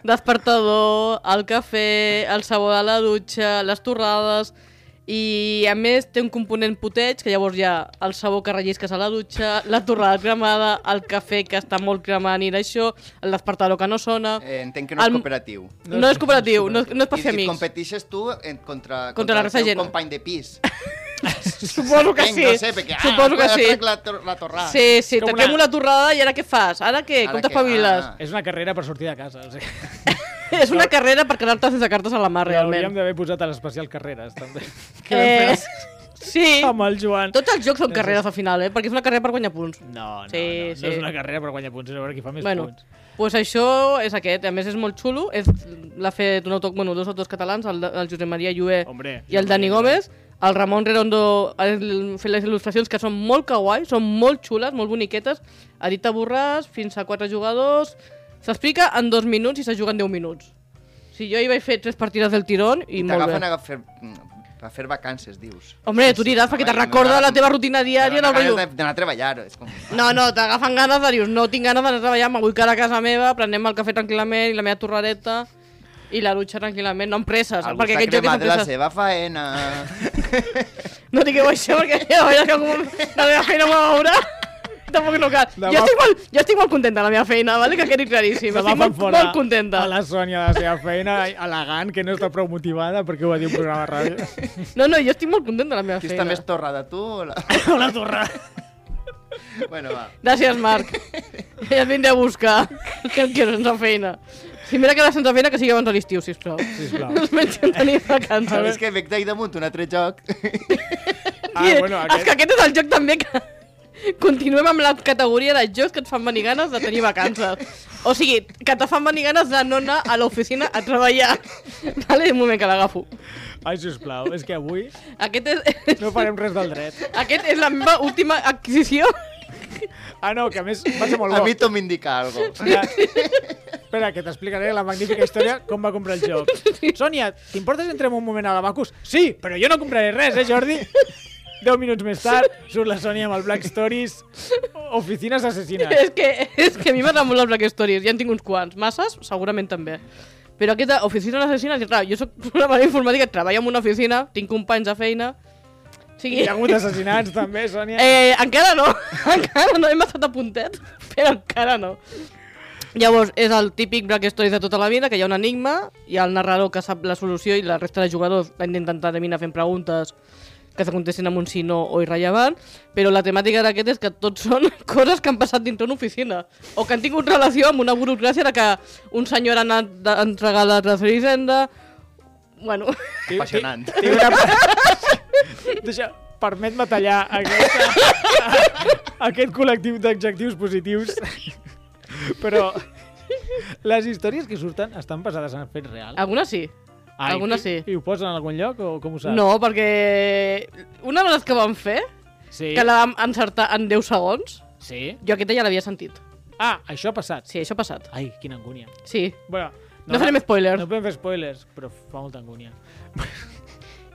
Speaker 3: despertador, el cafè, el sabó de la dutxa, les torrades... I, a més, té un component puteig, que llavors hi ha el sabó que rellisques a la dutxa, la torrada cremada, el cafè que està molt cremant i això, el despertador que no sona...
Speaker 2: Eh, entenc que no és
Speaker 3: El-
Speaker 2: cooperatiu.
Speaker 3: No és cooperatiu, no, no és per
Speaker 2: I,
Speaker 3: fer
Speaker 2: I
Speaker 3: amics.
Speaker 2: competixes tu en, contra, contra,
Speaker 3: la
Speaker 2: el
Speaker 3: resta
Speaker 2: teu
Speaker 3: de gent.
Speaker 2: company de pis.
Speaker 3: Suposo que
Speaker 2: Entenc,
Speaker 3: sí.
Speaker 2: No sé, perquè, ah,
Speaker 3: Suposo que sí.
Speaker 2: La, tor- la torrada.
Speaker 3: Sí, sí,
Speaker 1: És com
Speaker 3: tanquem
Speaker 1: una-
Speaker 3: una... torrada i ara què fas? Ara què?
Speaker 2: Ara
Speaker 3: Com
Speaker 2: què?
Speaker 3: t'espaviles?
Speaker 2: Ah.
Speaker 1: És una carrera per sortir de casa, o sigui.
Speaker 3: És una carrera per quedar-te sense cartes a la mà,
Speaker 1: Realment. Hauríem
Speaker 3: realment.
Speaker 1: d'haver posat a l'especial carreres, també.
Speaker 3: Eh, Sí.
Speaker 1: amb el Joan.
Speaker 3: Tots els jocs són carreres al final, eh? Perquè és una carrera per guanyar punts.
Speaker 1: No, no,
Speaker 3: Sí,
Speaker 1: no,
Speaker 3: sí.
Speaker 1: no és una carrera per guanyar punts, és a veure qui fa més
Speaker 3: bueno,
Speaker 1: punts.
Speaker 3: doncs pues això és aquest. A més, és molt xulo. És- L'ha fet un autor, bueno, dos autors catalans, el, el Josep Maria Lluer
Speaker 1: Hombre,
Speaker 3: i el
Speaker 1: Josep
Speaker 3: Dani
Speaker 1: Maria
Speaker 3: Gómez. El Ramon Redondo ha fet les il·lustracions que són molt kawaii, són molt xules, molt boniquetes. Edita Borràs, fins a quatre jugadors. S'explica en dos minuts i se juga en deu minuts. Si jo hi vaig fer tres partides del tirón i,
Speaker 2: I
Speaker 3: molt bé.
Speaker 2: t'agafen a fer, mm, a fer vacances, dius.
Speaker 3: Hombre, tu diràs perquè te recorda la teva rutina diària del rotllo.
Speaker 2: rotllo. D'anar a treballar, és com...
Speaker 3: No, no, t'agafen ganes de dius, no tinc ganes d'anar a treballar, m'avull quedar a casa meva, prenem el cafè tranquil·lament i la meva torrareta i la dutxa tranquil·lament, no em presses,
Speaker 2: Algú
Speaker 3: perquè
Speaker 2: s'ha
Speaker 3: aquest joc és
Speaker 2: cremat
Speaker 3: amb
Speaker 2: de la
Speaker 3: presses.
Speaker 2: seva faena.
Speaker 3: No digueu això perquè ja veuràs que algú la meva feina m'ho veurà. Tampoc no cal.
Speaker 1: Demà-
Speaker 3: Jo estic, molt, jo estic molt contenta de la meva feina, vale? que quedi claríssim.
Speaker 1: Demà
Speaker 3: Estic
Speaker 1: fan
Speaker 3: molt,
Speaker 1: fora
Speaker 3: molt contenta.
Speaker 1: a la Sònia de la seva feina, elegant, que no està prou motivada perquè ho va dir un programa de ràdio.
Speaker 3: No, no, jo estic molt contenta de la meva
Speaker 2: Qui està
Speaker 3: feina.
Speaker 2: més torrada, tu o la...
Speaker 1: la torre.
Speaker 2: Bueno, va.
Speaker 3: Gràcies, Marc. Ja et vindré a buscar, que em quedo sense feina. Si m'he de quedar sense feina, que sigui abans de l'estiu, sisplau.
Speaker 1: Sisplau.
Speaker 3: No es menys tenir
Speaker 2: A
Speaker 3: vacances.
Speaker 2: és que m'he caït damunt un altre joc.
Speaker 1: Ah,
Speaker 3: I
Speaker 1: bueno,
Speaker 3: És
Speaker 1: aquest...
Speaker 3: que aquest és el joc també que... Continuem amb la categoria de jocs que et fan venir ganes de tenir vacances. O sigui, que te fan venir ganes de no anar a l'oficina a treballar. Vale, un moment que l'agafo.
Speaker 1: Ai, sisplau, és que avui
Speaker 3: Aquest és,
Speaker 1: no farem res del dret.
Speaker 3: aquest és la meva última adquisició.
Speaker 1: Ah, no, que a més va ser molt
Speaker 2: A
Speaker 1: bo.
Speaker 2: mi tot m'indica algo.
Speaker 1: Espera, espera, que t'explicaré la magnífica història com va comprar el joc. Sònia, t'importa si entrem un moment a l'Abacus? Sí, però jo no compraré res, eh, Jordi? 10 minuts més tard surt la Sònia amb el Black Stories Oficines Assassines.
Speaker 3: És que, és que a mi m'agraden molt les Black Stories, ja en tinc uns quants. Masses, segurament també. Però aquesta oficina d'assassines, clar, jo soc programador informàtic, treballo en una oficina, tinc companys de feina... O sigui,
Speaker 1: Hi ha hagut assassinats també, Sònia.
Speaker 3: Eh, encara no, encara no, hem estat a puntet, però encara no. Llavors, és el típic Black Stories de tota la vida, que hi ha un enigma, hi ha el narrador que sap la solució i la resta de jugadors l'intenten determinar fent preguntes que s'acontestin amb un sí, no o irrellevant, però la temàtica d'aquest és que tots són coses que han passat dintre una oficina o que han tingut relació amb una burocràcia de que un senyor ha anat de- a entregar la transferència d'Hisenda... Bueno,
Speaker 1: Tinc-
Speaker 2: Apassionant.
Speaker 1: tinc- tinc una- Deixa, permet-me tallar aquesta, aquest col·lectiu d'adjectius positius, però les històries que surten estan basades en fets reals.
Speaker 3: algunes sí.
Speaker 1: Ai,
Speaker 3: algunes sí.
Speaker 1: I, I ho posen en algun lloc o com ho saps?
Speaker 3: No, perquè una de les que vam fer,
Speaker 1: Sí.
Speaker 3: que la vam encertar en 10 segons,
Speaker 1: sí.
Speaker 3: jo aquesta ja l'havia sentit.
Speaker 1: Ah, això ha passat.
Speaker 3: Sí, això ha passat.
Speaker 1: Ai, quina angúnia.
Speaker 3: Sí.
Speaker 1: Bueno,
Speaker 3: No, farem spoilers.
Speaker 1: No podem fer spoilers, però fa molta angúnia.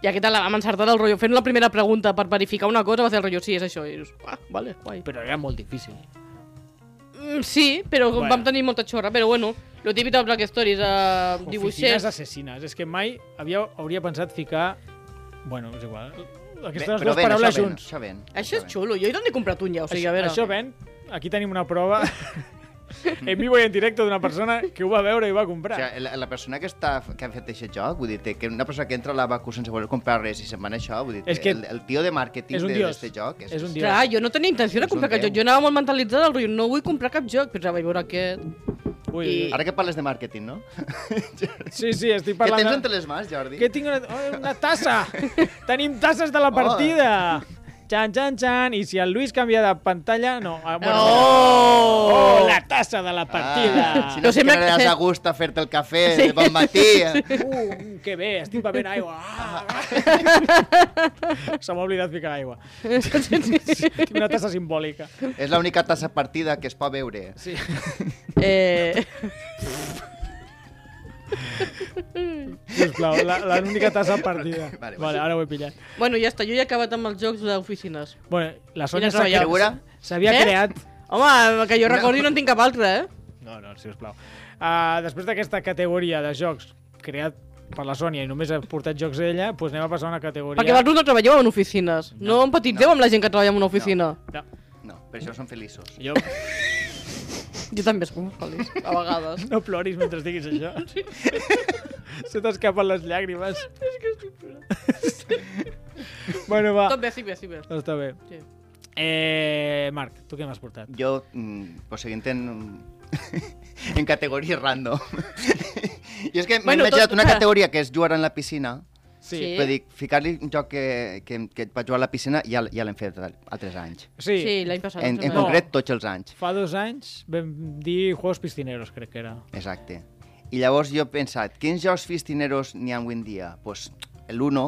Speaker 3: I aquesta la vam encertar del rotllo. Fent la primera pregunta per verificar una cosa, va ser el rotllo, sí, és això. I dius, ah, vale, guai.
Speaker 1: Però era molt difícil.
Speaker 3: Mm, sí, però
Speaker 1: Bueno.
Speaker 3: bueno. vam tenir molta xorra. Però bueno, lo típic de Black Stories, eh,
Speaker 1: Oficines
Speaker 3: dibuixers...
Speaker 1: assassines. És que mai havia, hauria pensat ficar... Bueno, és igual. Aquestes
Speaker 2: Bé,
Speaker 1: dues
Speaker 2: però ven,
Speaker 1: paraules
Speaker 2: això ven,
Speaker 1: junts.
Speaker 2: Això ven.
Speaker 3: Això és
Speaker 2: ven.
Speaker 3: xulo, jo hi n'he comprat un ja, o sigui, a veure...
Speaker 1: Això ven, aquí tenim una prova en vivo i en directe d'una persona que ho va veure i ho va
Speaker 2: O
Speaker 1: comprar.
Speaker 2: sigui, la, la persona que, està, que ha fet aquest joc, vull dir, té- que una persona que entra a l'Abacu sense voler comprar res i se'n va anar a això, vull dir,
Speaker 1: És
Speaker 2: és
Speaker 1: que
Speaker 2: que el, el tio de màrqueting
Speaker 1: és un
Speaker 2: de-
Speaker 1: dios.
Speaker 2: d'este joc
Speaker 1: És un dios.
Speaker 3: Clar, jo no tenia intenció de
Speaker 2: És un
Speaker 3: comprar aquest
Speaker 2: déu.
Speaker 3: joc. Jo anava molt mentalitzada del rotllo, no vull comprar cap joc, però ja vaig veure aquest...
Speaker 1: Ui,
Speaker 3: i-
Speaker 2: Ara que parles de màrqueting, no?
Speaker 1: Sí, sí, estic
Speaker 2: Què
Speaker 1: parlant...
Speaker 2: tens
Speaker 1: de-
Speaker 2: entre les mans, Jordi?
Speaker 1: Que tinc una, oh, una tassa! Tenim tasses de la
Speaker 2: Oh.
Speaker 1: partida! Xan, xan, xan! I si el Lluís canvia de pantalla... No, ah, bueno,
Speaker 3: Oh!
Speaker 1: oh, la tassa de la partida!
Speaker 2: Ah, si
Speaker 3: Però
Speaker 2: no et
Speaker 3: sembla que-
Speaker 2: quedaràs a gust a fer-te el cafè de bon matí.
Speaker 1: Uh, que bé, estic bevent aigua. Ah. Se m'ha oblidat ficar aigua. Tinc una tassa simbòlica.
Speaker 2: És l'única tassa partida que es pot veure.
Speaker 1: Sí.
Speaker 3: Eh...
Speaker 1: Sisplau, la- l'única tassa partida. Vale,
Speaker 2: Vale,
Speaker 1: vale, ara ho he pillat.
Speaker 3: Bueno, ja està, jo ja he acabat amb els jocs d'oficines.
Speaker 1: Bueno, la Sònia
Speaker 3: Quina treballada.
Speaker 1: s'ha- s'havia
Speaker 3: Eh?
Speaker 1: creat...
Speaker 3: Home, que jo recordi no en tinc cap altre, eh?
Speaker 1: No, no, sisplau. Uh, després d'aquesta categoria de jocs creat per la Sònia i només ha portat jocs d'ella, doncs anem a passar a una categoria...
Speaker 3: Perquè vosaltres no treballeu en oficines. No, empatitzeu amb la gent que treballa en una oficina.
Speaker 1: No,
Speaker 2: No, per això som feliços.
Speaker 1: jo...
Speaker 3: Jo també soc molt feliç, a vegades.
Speaker 1: No ploris mentre diguis això. Se t'escapen les llàgrimes.
Speaker 3: És que estic plorant.
Speaker 1: Bueno, va.
Speaker 3: Tot bé, estic bé, estic bé.
Speaker 1: Està bé.
Speaker 3: Sí.
Speaker 1: Eh, Marc, tu què m'has portat?
Speaker 2: Jo, mm, pues, seguint en, en categories random. I és que m'he
Speaker 3: Bueno,
Speaker 2: imaginat
Speaker 3: tot-
Speaker 2: una categoria que és jugar en la piscina
Speaker 1: Sí.
Speaker 3: Sí.
Speaker 2: Però dic, ficar-li un joc que, que, que et vaig jugar a la piscina ja, l- ja l'hem fet altres anys.
Speaker 1: Sí.
Speaker 3: Sí, l'any passat.
Speaker 2: En,
Speaker 3: em
Speaker 2: en
Speaker 3: sembla.
Speaker 2: concret, tots els anys.
Speaker 1: Fa dos anys vam dir Juegos Piscineros, crec que era.
Speaker 2: Exacte. I llavors jo he pensat, quins jocs fistineros n'hi ha avui en dia? Doncs pues, l'1,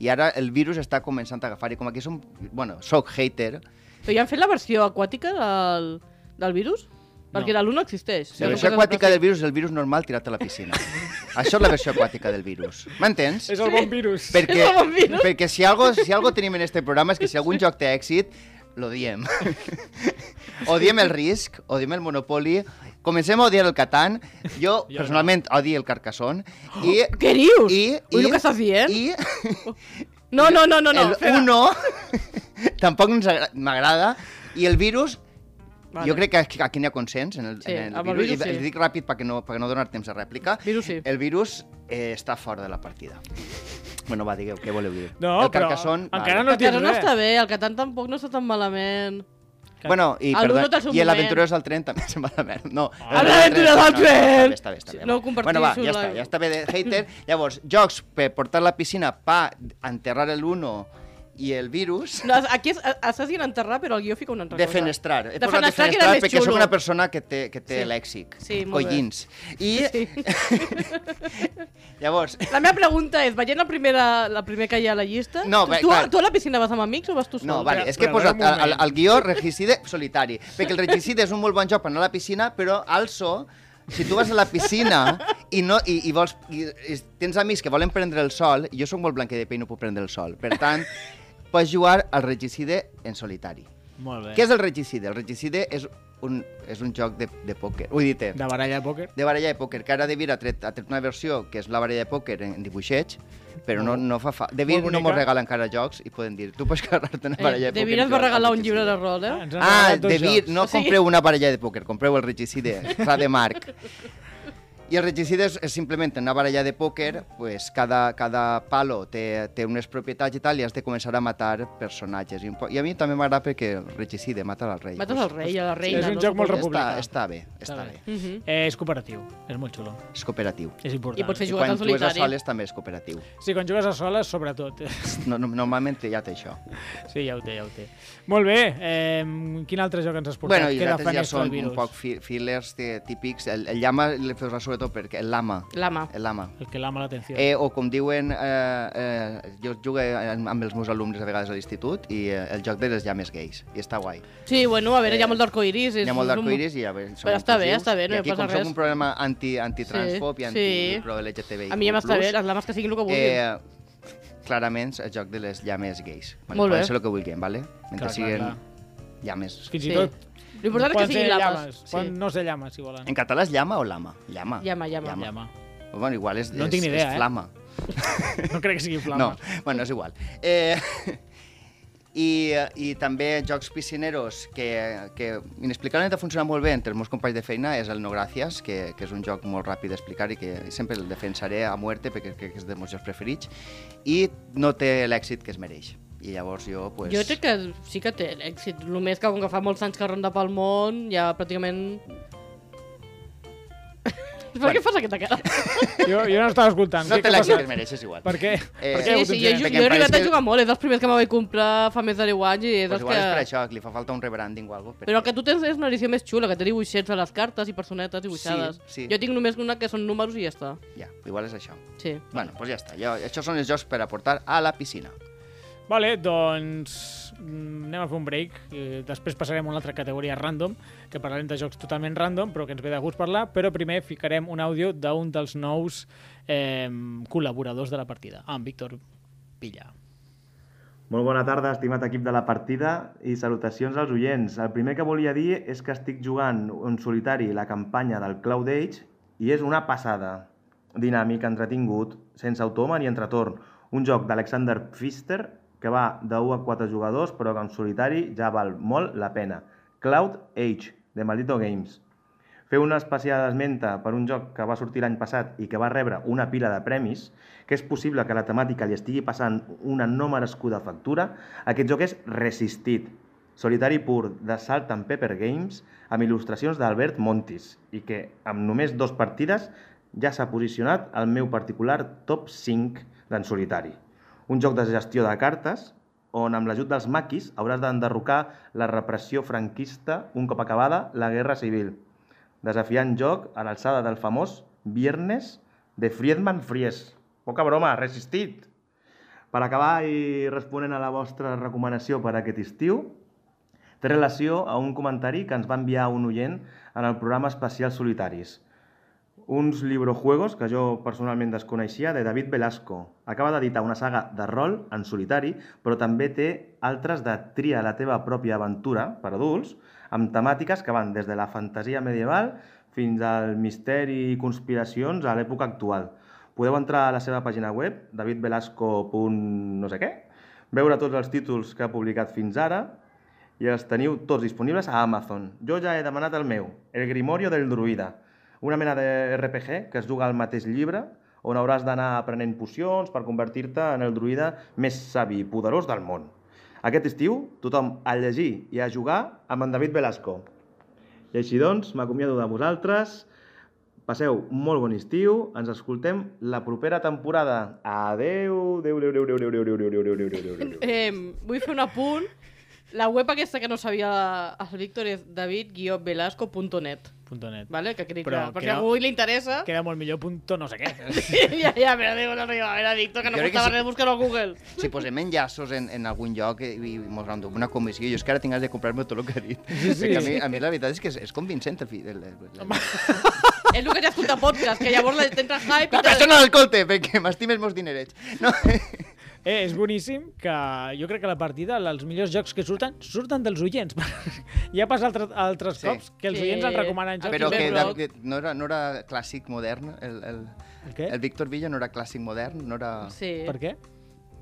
Speaker 2: i ara el virus està començant a agafar, i com aquí som, bueno, soc hater,
Speaker 3: Però ja han fet la versió aquàtica del, del virus? Perquè
Speaker 1: No.
Speaker 3: la Luna existeix.
Speaker 2: la versió aquàtica del virus és el virus normal tirat a la piscina. Això és la versió aquàtica del virus. M'entens?
Speaker 1: És el bon virus.
Speaker 2: Perquè,
Speaker 3: És el bon virus.
Speaker 2: perquè si, algo, si algo tenim en este programa és que si algun joc té èxit, lo diem. Odiem el risc, odiem el monopoli, comencem a odiar el Catan, jo
Speaker 1: no.
Speaker 2: personalment odio el Carcassonne,
Speaker 3: Oh,
Speaker 2: i...
Speaker 3: Què dius?
Speaker 2: I,
Speaker 3: Ui,
Speaker 2: i,
Speaker 3: el que estàs dient?
Speaker 2: I
Speaker 3: No, no, no, no. no.
Speaker 2: el Uno tampoc ens agra- m'agrada i el virus
Speaker 3: Vale.
Speaker 2: Vale. Jo crec que aquí- aquí n'hi ha consens en el,
Speaker 3: Sí,
Speaker 2: en el
Speaker 3: amb el
Speaker 2: virus.
Speaker 3: virus
Speaker 2: I
Speaker 3: sí.
Speaker 2: els dic ràpid perquè no, perquè no donar temps a rèplica.
Speaker 3: Virus sí.
Speaker 2: El virus eh, està fora de la partida. Bueno, va, digueu, què voleu dir?
Speaker 1: No,
Speaker 2: el
Speaker 1: però
Speaker 2: Carcassonne,
Speaker 1: encara No
Speaker 3: No el
Speaker 1: dius
Speaker 3: Catan no
Speaker 1: res.
Speaker 3: està bé, el Catan tampoc no està tan malament.
Speaker 2: Bueno, i,
Speaker 3: El
Speaker 2: perdó,
Speaker 3: Uno té el
Speaker 2: i
Speaker 3: seu moment.
Speaker 2: l'Aventureros del Tren també se'n va a la merda. No,
Speaker 1: Ah,
Speaker 3: l'Aventura del
Speaker 2: no,
Speaker 3: Tren!
Speaker 2: No, està bé, està bé, està bé.
Speaker 3: No ho comparteixo,
Speaker 2: Bueno, va, ja
Speaker 3: la-
Speaker 2: està, ja està bé de hater. Llavors, jocs per portar a la piscina pa enterrar el Uno i el virus...
Speaker 3: No, aquí es- estàs dient enterrar, però el guió fica una altra
Speaker 2: De
Speaker 3: cosa.
Speaker 2: fenestrar. He
Speaker 3: De
Speaker 2: posat
Speaker 3: fenestrar que era més
Speaker 2: perquè
Speaker 3: xulo.
Speaker 2: sóc una persona que té, que té
Speaker 3: Sí.
Speaker 2: sí. lèxic.
Speaker 3: Sí, molt bé.
Speaker 2: Collins. I
Speaker 3: eh? Sí.
Speaker 2: llavors,
Speaker 3: La meva pregunta és, veient la primera, la primera que hi ha a la llista,
Speaker 2: No,
Speaker 3: tu,
Speaker 2: bé,
Speaker 3: tu, a-
Speaker 2: clar.
Speaker 3: tu a la piscina vas amb amics o vas tu sol?
Speaker 2: No, vale, és que he
Speaker 1: però a veure
Speaker 2: posat
Speaker 1: un
Speaker 2: al, al,
Speaker 1: moment.
Speaker 2: al guió regicide solitari, perquè el regicide és un molt bon joc per anar a la piscina, però also, si tu vas a la piscina i, no, i, i, vols, i, i tens amics que volen prendre el sol, jo sóc molt blanc de pell i no puc prendre el sol, per tant, pots jugar al regicide en solitari.
Speaker 1: Molt bé.
Speaker 2: Què és el regicide? El regicide és un, és un joc de, de pòquer, vull dir
Speaker 1: De baralla de pòquer?
Speaker 2: de baralla de pòquer, que ara De Vir ha tret, ha tret una versió que és la baralla de pòquer en, en dibuixets, però no, no fa fa... De Vir
Speaker 1: Oh. Molt
Speaker 2: no mos
Speaker 1: bonica.
Speaker 2: regala encara jocs i poden dir, tu pots carregar-te una baralla de
Speaker 3: Eh,
Speaker 2: pòquer.
Speaker 3: de Vira
Speaker 2: i
Speaker 3: et va
Speaker 2: jugar
Speaker 3: regalar
Speaker 2: al
Speaker 3: un llibre de
Speaker 2: regicide.
Speaker 3: rol, eh?
Speaker 1: Ens han
Speaker 2: Ah,
Speaker 1: regalat dos
Speaker 2: De Vir,
Speaker 1: jocs.
Speaker 2: no
Speaker 3: O sigui-
Speaker 2: compreu una baralla de pòquer, compreu el regicide, fa de Marc. I el regicide és, és simplement una baralla de pòquer, pues, cada, cada palo té, té unes propietats i tal, i has de començar a matar personatges. I, un po- i a mi també m'agrada perquè el regicide mata el rei.
Speaker 3: Mates el
Speaker 2: doncs,
Speaker 3: rei, a la reina.
Speaker 1: és un
Speaker 3: no?
Speaker 1: joc molt
Speaker 3: Suposo.
Speaker 2: Està,
Speaker 1: republicà.
Speaker 2: està bé, està bé.
Speaker 3: Mhm.
Speaker 1: Eh, és cooperatiu, és molt xulo,
Speaker 2: És cooperatiu.
Speaker 1: és important.
Speaker 3: I pots fer
Speaker 2: I
Speaker 3: Jugat
Speaker 2: quan
Speaker 3: en
Speaker 2: tu és a
Speaker 3: solitari.
Speaker 2: soles també és cooperatiu.
Speaker 1: Sí, quan jugues a soles, sobretot.
Speaker 2: No, no, normalment ja té això.
Speaker 1: Sí, ja ho té, ja ho té. Molt bé, eh, quin altre joc ens has portat?
Speaker 2: bueno, i
Speaker 1: Què
Speaker 2: els altres ja
Speaker 1: defenestrar el
Speaker 2: són un
Speaker 1: virus?
Speaker 2: poc fi fillers eh, típics. El, el llama li fes sobretot perquè el lama.
Speaker 3: Lama.
Speaker 2: El lama.
Speaker 1: El que l'ama l'atenció.
Speaker 2: Eh, o com diuen, eh, eh, jo jugo amb amb els meus alumnes a vegades a l'institut i eh, el joc de les llames gais. I està guai.
Speaker 3: Sí, bueno, a veure, hi ha molt d'arcoiris.
Speaker 2: Hi
Speaker 3: és
Speaker 2: ha molt
Speaker 3: un-
Speaker 2: d'arcoiris i a veure, som
Speaker 3: Però està bé,
Speaker 2: inclusius.
Speaker 3: està bé, no
Speaker 2: I
Speaker 3: hi
Speaker 2: aquí,
Speaker 3: passa
Speaker 2: com som
Speaker 3: res.
Speaker 2: un programa anti, antitransfob
Speaker 3: Sí,
Speaker 2: i
Speaker 3: sí.
Speaker 2: anti-pro-LGTBI+.
Speaker 3: A mi ja m'està bé, les lames que siguin el que vulguin.
Speaker 2: Eh, clarament, el joc de les llames gais. Bueno,
Speaker 3: Molt bé.
Speaker 2: Poden ser el que vulguin, vale?
Speaker 1: Clar,
Speaker 2: Mentre
Speaker 1: clar,
Speaker 2: siguin
Speaker 1: clar.
Speaker 2: llames.
Speaker 1: Fins
Speaker 3: Sí.
Speaker 1: i tot...
Speaker 3: L'important és que
Speaker 1: poden
Speaker 3: siguin
Speaker 1: ser
Speaker 3: lames. Sí.
Speaker 1: Poden no ser llames, si volen.
Speaker 2: En català és llama o lama? Llama.
Speaker 3: Llama, llama.
Speaker 2: Llama.
Speaker 1: Llama.
Speaker 2: Bueno, igual és,
Speaker 1: No en
Speaker 2: és,
Speaker 1: tinc ni idea,
Speaker 2: és
Speaker 1: eh?
Speaker 2: flama.
Speaker 1: No crec que sigui flama.
Speaker 2: No, bueno, és igual. Eh, i, I també jocs piscineros que, que inexplicablement ha funcionat molt bé entre els meus companys de feina és el No Gràcies, que, que és un joc molt ràpid d'explicar i que sempre el defensaré a muerte perquè crec que és dels meus jocs preferits i no té l'èxit que es mereix. I llavors jo, pues,
Speaker 3: Jo crec que sí que té l'èxit. Només que com que fa molts anys que ronda pel món, ja pràcticament... Per què fas aquesta cara?
Speaker 1: Jo, jo no estava escoltant.
Speaker 2: no
Speaker 1: Què- què
Speaker 2: té
Speaker 1: ha
Speaker 2: l'èxit que
Speaker 1: passat?
Speaker 2: es mereix, és igual.
Speaker 1: Per què?
Speaker 2: Eh,
Speaker 1: per què
Speaker 3: Sí,
Speaker 1: ho
Speaker 3: sí, jo,
Speaker 1: jutgem?
Speaker 3: jo,
Speaker 2: perquè
Speaker 3: jo he
Speaker 2: em
Speaker 3: arribat
Speaker 2: pareix
Speaker 3: a
Speaker 2: que-
Speaker 3: jugar molt, és dels primers que me vaig comprar fa més de 10 anys i és
Speaker 2: Pues
Speaker 3: dels
Speaker 2: igual és per
Speaker 3: que...
Speaker 2: això, que li fa falta un rebranding o alguna cosa.
Speaker 3: Però el que tu tens és una edició més xula, que té dibuixets de les cartes i personetes dibuixades.
Speaker 2: Sí, sí.
Speaker 3: Jo tinc només una que són números i ja està.
Speaker 2: Ja, igual és això.
Speaker 3: Sí.
Speaker 2: Bueno, doncs ja està. Jo, això són els jocs per aportar a la piscina.
Speaker 1: Vale, doncs mm, anem a fer un break. eh, Després passarem a una altra categoria random, que parlarem de jocs totalment random, però que ens ve de gust parlar, però primer ficarem un àudio d'un dels nous eh, col·laboradors de la partida, amb Víctor Pilla.
Speaker 4: Molt bona tarda, estimat equip de la partida i salutacions als oients. El primer que volia dir és que estic jugant en solitari la campanya del Cloud Age i és una passada. Dinàmic, entretingut, sense automa ni entretorn. Un joc d'Alexander Pfister que va de 1 a 4 jugadors però que en solitari ja val molt la pena. Cloud Age, de Maldito Games. Feu una especial esmenta per un joc que va sortir l'any passat i que va rebre una pila de premis, que és possible que la temàtica li estigui passant una no merescuda factura, aquest joc és Resistit, solitari pur de Salt and Pepper Games amb il·lustracions d'Albert Montis i que amb només dos partides ja s'ha posicionat al meu particular top 5 d'en solitari. Un joc de gestió de cartes on amb l'ajut dels maquis hauràs d'enderrocar la repressió franquista un cop acabada la Guerra Civil. Desafiant joc a l'alçada del famós Viernes de Friedman Fries. Poca broma, resistit! Per acabar i responent a la vostra recomanació per aquest estiu, té relació a un comentari que ens va enviar un oient en el programa especial Solitaris. Uns librojuegos que jo personalment desconeixia de David Velasco. Acaba d'editar una saga de rol en solitari, però també té altres de tria la teva pròpia aventura per adults, amb temàtiques que van des de la fantasia medieval fins al misteri i conspiracions a l'època actual. Podeu entrar a la seva pàgina web, davidvelasco.no sé què, veure tots els títols que ha publicat fins ara i els teniu tots disponibles a Amazon. Jo ja he demanat el meu, El Grimorio del Druida, una mena de RPG que es juga al mateix llibre, on hauràs d'anar aprenent pocions per convertir-te en el druida més savi i poderós del món. Aquest estiu, tothom a llegir i a jugar amb en David Velasco. I així doncs, m'acomiado de vosaltres. Passeu molt bon estiu, ens escoltem la propera temporada. Adeu, adeu, adeu, adeu, adeu, adeu, adeu, adeu, adeu, adeu, adeu, adeu.
Speaker 3: Eh, vull fer un apunt. La web aquesta que no sabia el Víctor és david-velasco.net,
Speaker 1: Punto net.
Speaker 3: vale? que crec
Speaker 1: Però
Speaker 3: que, per
Speaker 1: que
Speaker 3: si a
Speaker 1: no-
Speaker 3: algú li interessa...
Speaker 1: Que era molt millor punto no sé què.
Speaker 3: ja, ja, però diu, no arriba, era Víctor, que no
Speaker 2: Jo crec que
Speaker 3: costava
Speaker 2: sí.
Speaker 3: res buscar-ho a Google.
Speaker 2: Si posem enllaços en, en algun lloc i, i mos han d'una comissió, jo és que ara tinc ganes de comprar-me tot el que ha dit.
Speaker 1: Sí, sí.
Speaker 2: Perquè A, mi, a mi la veritat és que és, és convincent. El, fi- el, el, el...
Speaker 3: és el que ja escolta podcast, que llavors la- t'entra hype...
Speaker 2: La
Speaker 3: i te-
Speaker 2: persona l'escolte, eh, perquè m'estimes molts dinerets. No.
Speaker 1: Eh, és boníssim que jo crec que la partida, la- els millors jocs que surten, surten dels oients. ja passa altres, altres
Speaker 2: Sí.
Speaker 1: cops que els
Speaker 3: Sí.
Speaker 1: oients ens recomanen jocs.
Speaker 2: Però
Speaker 1: i
Speaker 2: que
Speaker 1: fem
Speaker 2: de,
Speaker 1: bloc.
Speaker 2: de, no, era, no era clàssic modern, el, el,
Speaker 1: El què?
Speaker 2: el Víctor Villa no era clàssic modern, no era...
Speaker 3: Sí.
Speaker 1: Per què?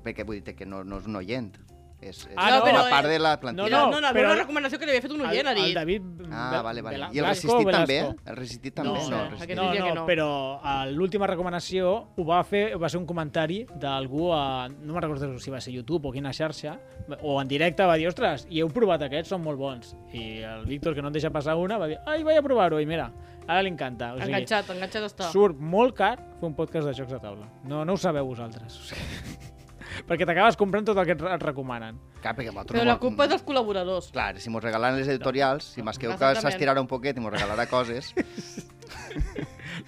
Speaker 2: Perquè vull dir que no, no és un oient. És, és
Speaker 1: Ah, no,
Speaker 2: una
Speaker 3: però,
Speaker 2: part
Speaker 3: eh,
Speaker 2: de la
Speaker 1: No,
Speaker 2: plantilla.
Speaker 3: No, no, no, no,
Speaker 1: però-
Speaker 3: però... una recomanació que li havia fet un oient, ha
Speaker 1: El, el
Speaker 3: dit.
Speaker 1: David...
Speaker 3: Mm.
Speaker 2: Ah, vale, vale.
Speaker 1: Velasco,
Speaker 2: I el resistit
Speaker 1: Velasco.
Speaker 2: també? El resistit també?
Speaker 3: No,
Speaker 2: No,
Speaker 3: no,
Speaker 2: resistit.
Speaker 3: aquest
Speaker 1: No,
Speaker 3: diria
Speaker 1: no,
Speaker 3: que
Speaker 1: no,
Speaker 3: no.
Speaker 1: però a l'última recomanació ho va fer, va ser un comentari d'algú a... No me'n recordo si va ser YouTube o quina xarxa, o en directe va dir, ostres, i heu provat aquests, són molt bons. I el Víctor, que no en deixa passar una, va dir, ai, vaig a provar-ho, i mira, ara li encanta. O sigui,
Speaker 3: Enganxat, enganxat està.
Speaker 1: surt molt car fer un podcast de jocs de taula. No, no ho sabeu vosaltres. O sigui, perquè t'acabes comprant tot el que et re- et recomanen.
Speaker 2: Clar, perquè vosaltres
Speaker 3: Però
Speaker 2: no
Speaker 3: la
Speaker 2: vol-
Speaker 3: culpa és dels col·laboradors.
Speaker 2: Clar, si mos regalaran les editorials, si Masqueu que
Speaker 3: Exactament.
Speaker 2: s'estirarà un poquet i mos regalarà coses,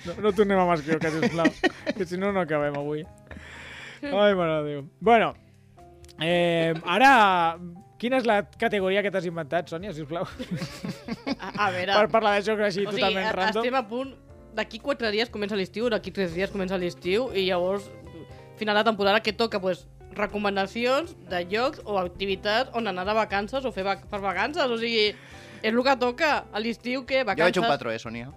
Speaker 1: No, no tornem a Masquioca, sisplau, que si no, no acabem avui. Ai, mare de Déu. Bueno, eh, ara... Quina és la categoria que t'has inventat, Sònia, sisplau?
Speaker 3: A, a veure...
Speaker 1: Per parlar de jocs així
Speaker 3: o sigui,
Speaker 1: totalment
Speaker 3: a-
Speaker 1: random.
Speaker 3: estem a punt... D'aquí quatre dies comença l'estiu, d'aquí tres dies comença l'estiu, i llavors, final de temporada, que toca? Pues, recomanacions de llocs o activitats on anar de vacances o fer vac per vacances, o sigui... És el que toca. A l'estiu, què?
Speaker 2: jo
Speaker 3: Vacances?
Speaker 2: veig un patró, eh, Sonia?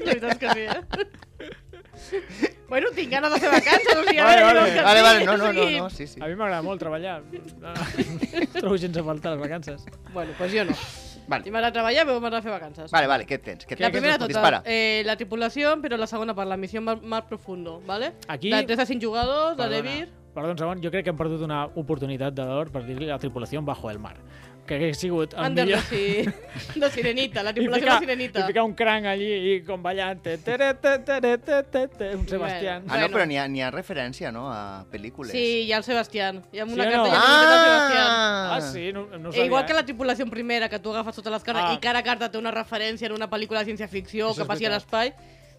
Speaker 3: La veritat és que sí, eh? bueno, tinc ganes de fer vacances, o sigui... a
Speaker 1: Vale,
Speaker 3: veure què
Speaker 1: vale.
Speaker 3: vols que et
Speaker 2: Vale, vale,
Speaker 3: digui,
Speaker 2: no,
Speaker 3: o
Speaker 2: no, no,
Speaker 3: sigui,
Speaker 2: no sí, sí.
Speaker 1: A mi m'agrada molt treballar. Trobo gens a faltar les vacances.
Speaker 3: Bueno, pues jo no. I
Speaker 2: Vale,
Speaker 3: m'agrada treballar, però m'agrada fer vacances.
Speaker 2: vale, vale què tens? Què
Speaker 3: La
Speaker 2: tens?
Speaker 3: primera
Speaker 2: Dispara.
Speaker 3: total, eh, la tripulación, pero la segunda para la misión más, más profundo, ¿vale?
Speaker 1: Aquí-
Speaker 3: La 3 a 5 jugadors, la de
Speaker 1: Perdona.
Speaker 3: Vir...
Speaker 1: Perdó un segon, jo crec que hem perdut una oportunitat d'or per dir-li la tripulació bajo el mar. Que hagués sigut el
Speaker 3: Under
Speaker 1: millor...
Speaker 3: de, si- de Sirenita, la
Speaker 1: I
Speaker 3: tripulación
Speaker 1: ficar-
Speaker 3: de Sirenita.
Speaker 1: I ficar un cranc allí i com ballant. te, tere, te, tere, te, te, te, un Sebastián.
Speaker 2: Ah, no,
Speaker 3: Bueno.
Speaker 2: però n'hi ha, n'hi ha referència, no?, a pel·lícules.
Speaker 3: Sí, ya el Sebastián. Ya una
Speaker 1: Sí o no?
Speaker 3: carta ja tinc el Sebastián.
Speaker 2: Ah!
Speaker 1: Ah, sí, no, no ho
Speaker 3: E
Speaker 1: sabia.
Speaker 3: igual que la tripulación primera, que tú agafas todas las cartas
Speaker 1: Ah.
Speaker 3: y cada carta te una referencia en una película de ciencia ficción
Speaker 1: Eso
Speaker 3: que
Speaker 1: es
Speaker 3: passi a
Speaker 1: veritat.
Speaker 3: l'espai,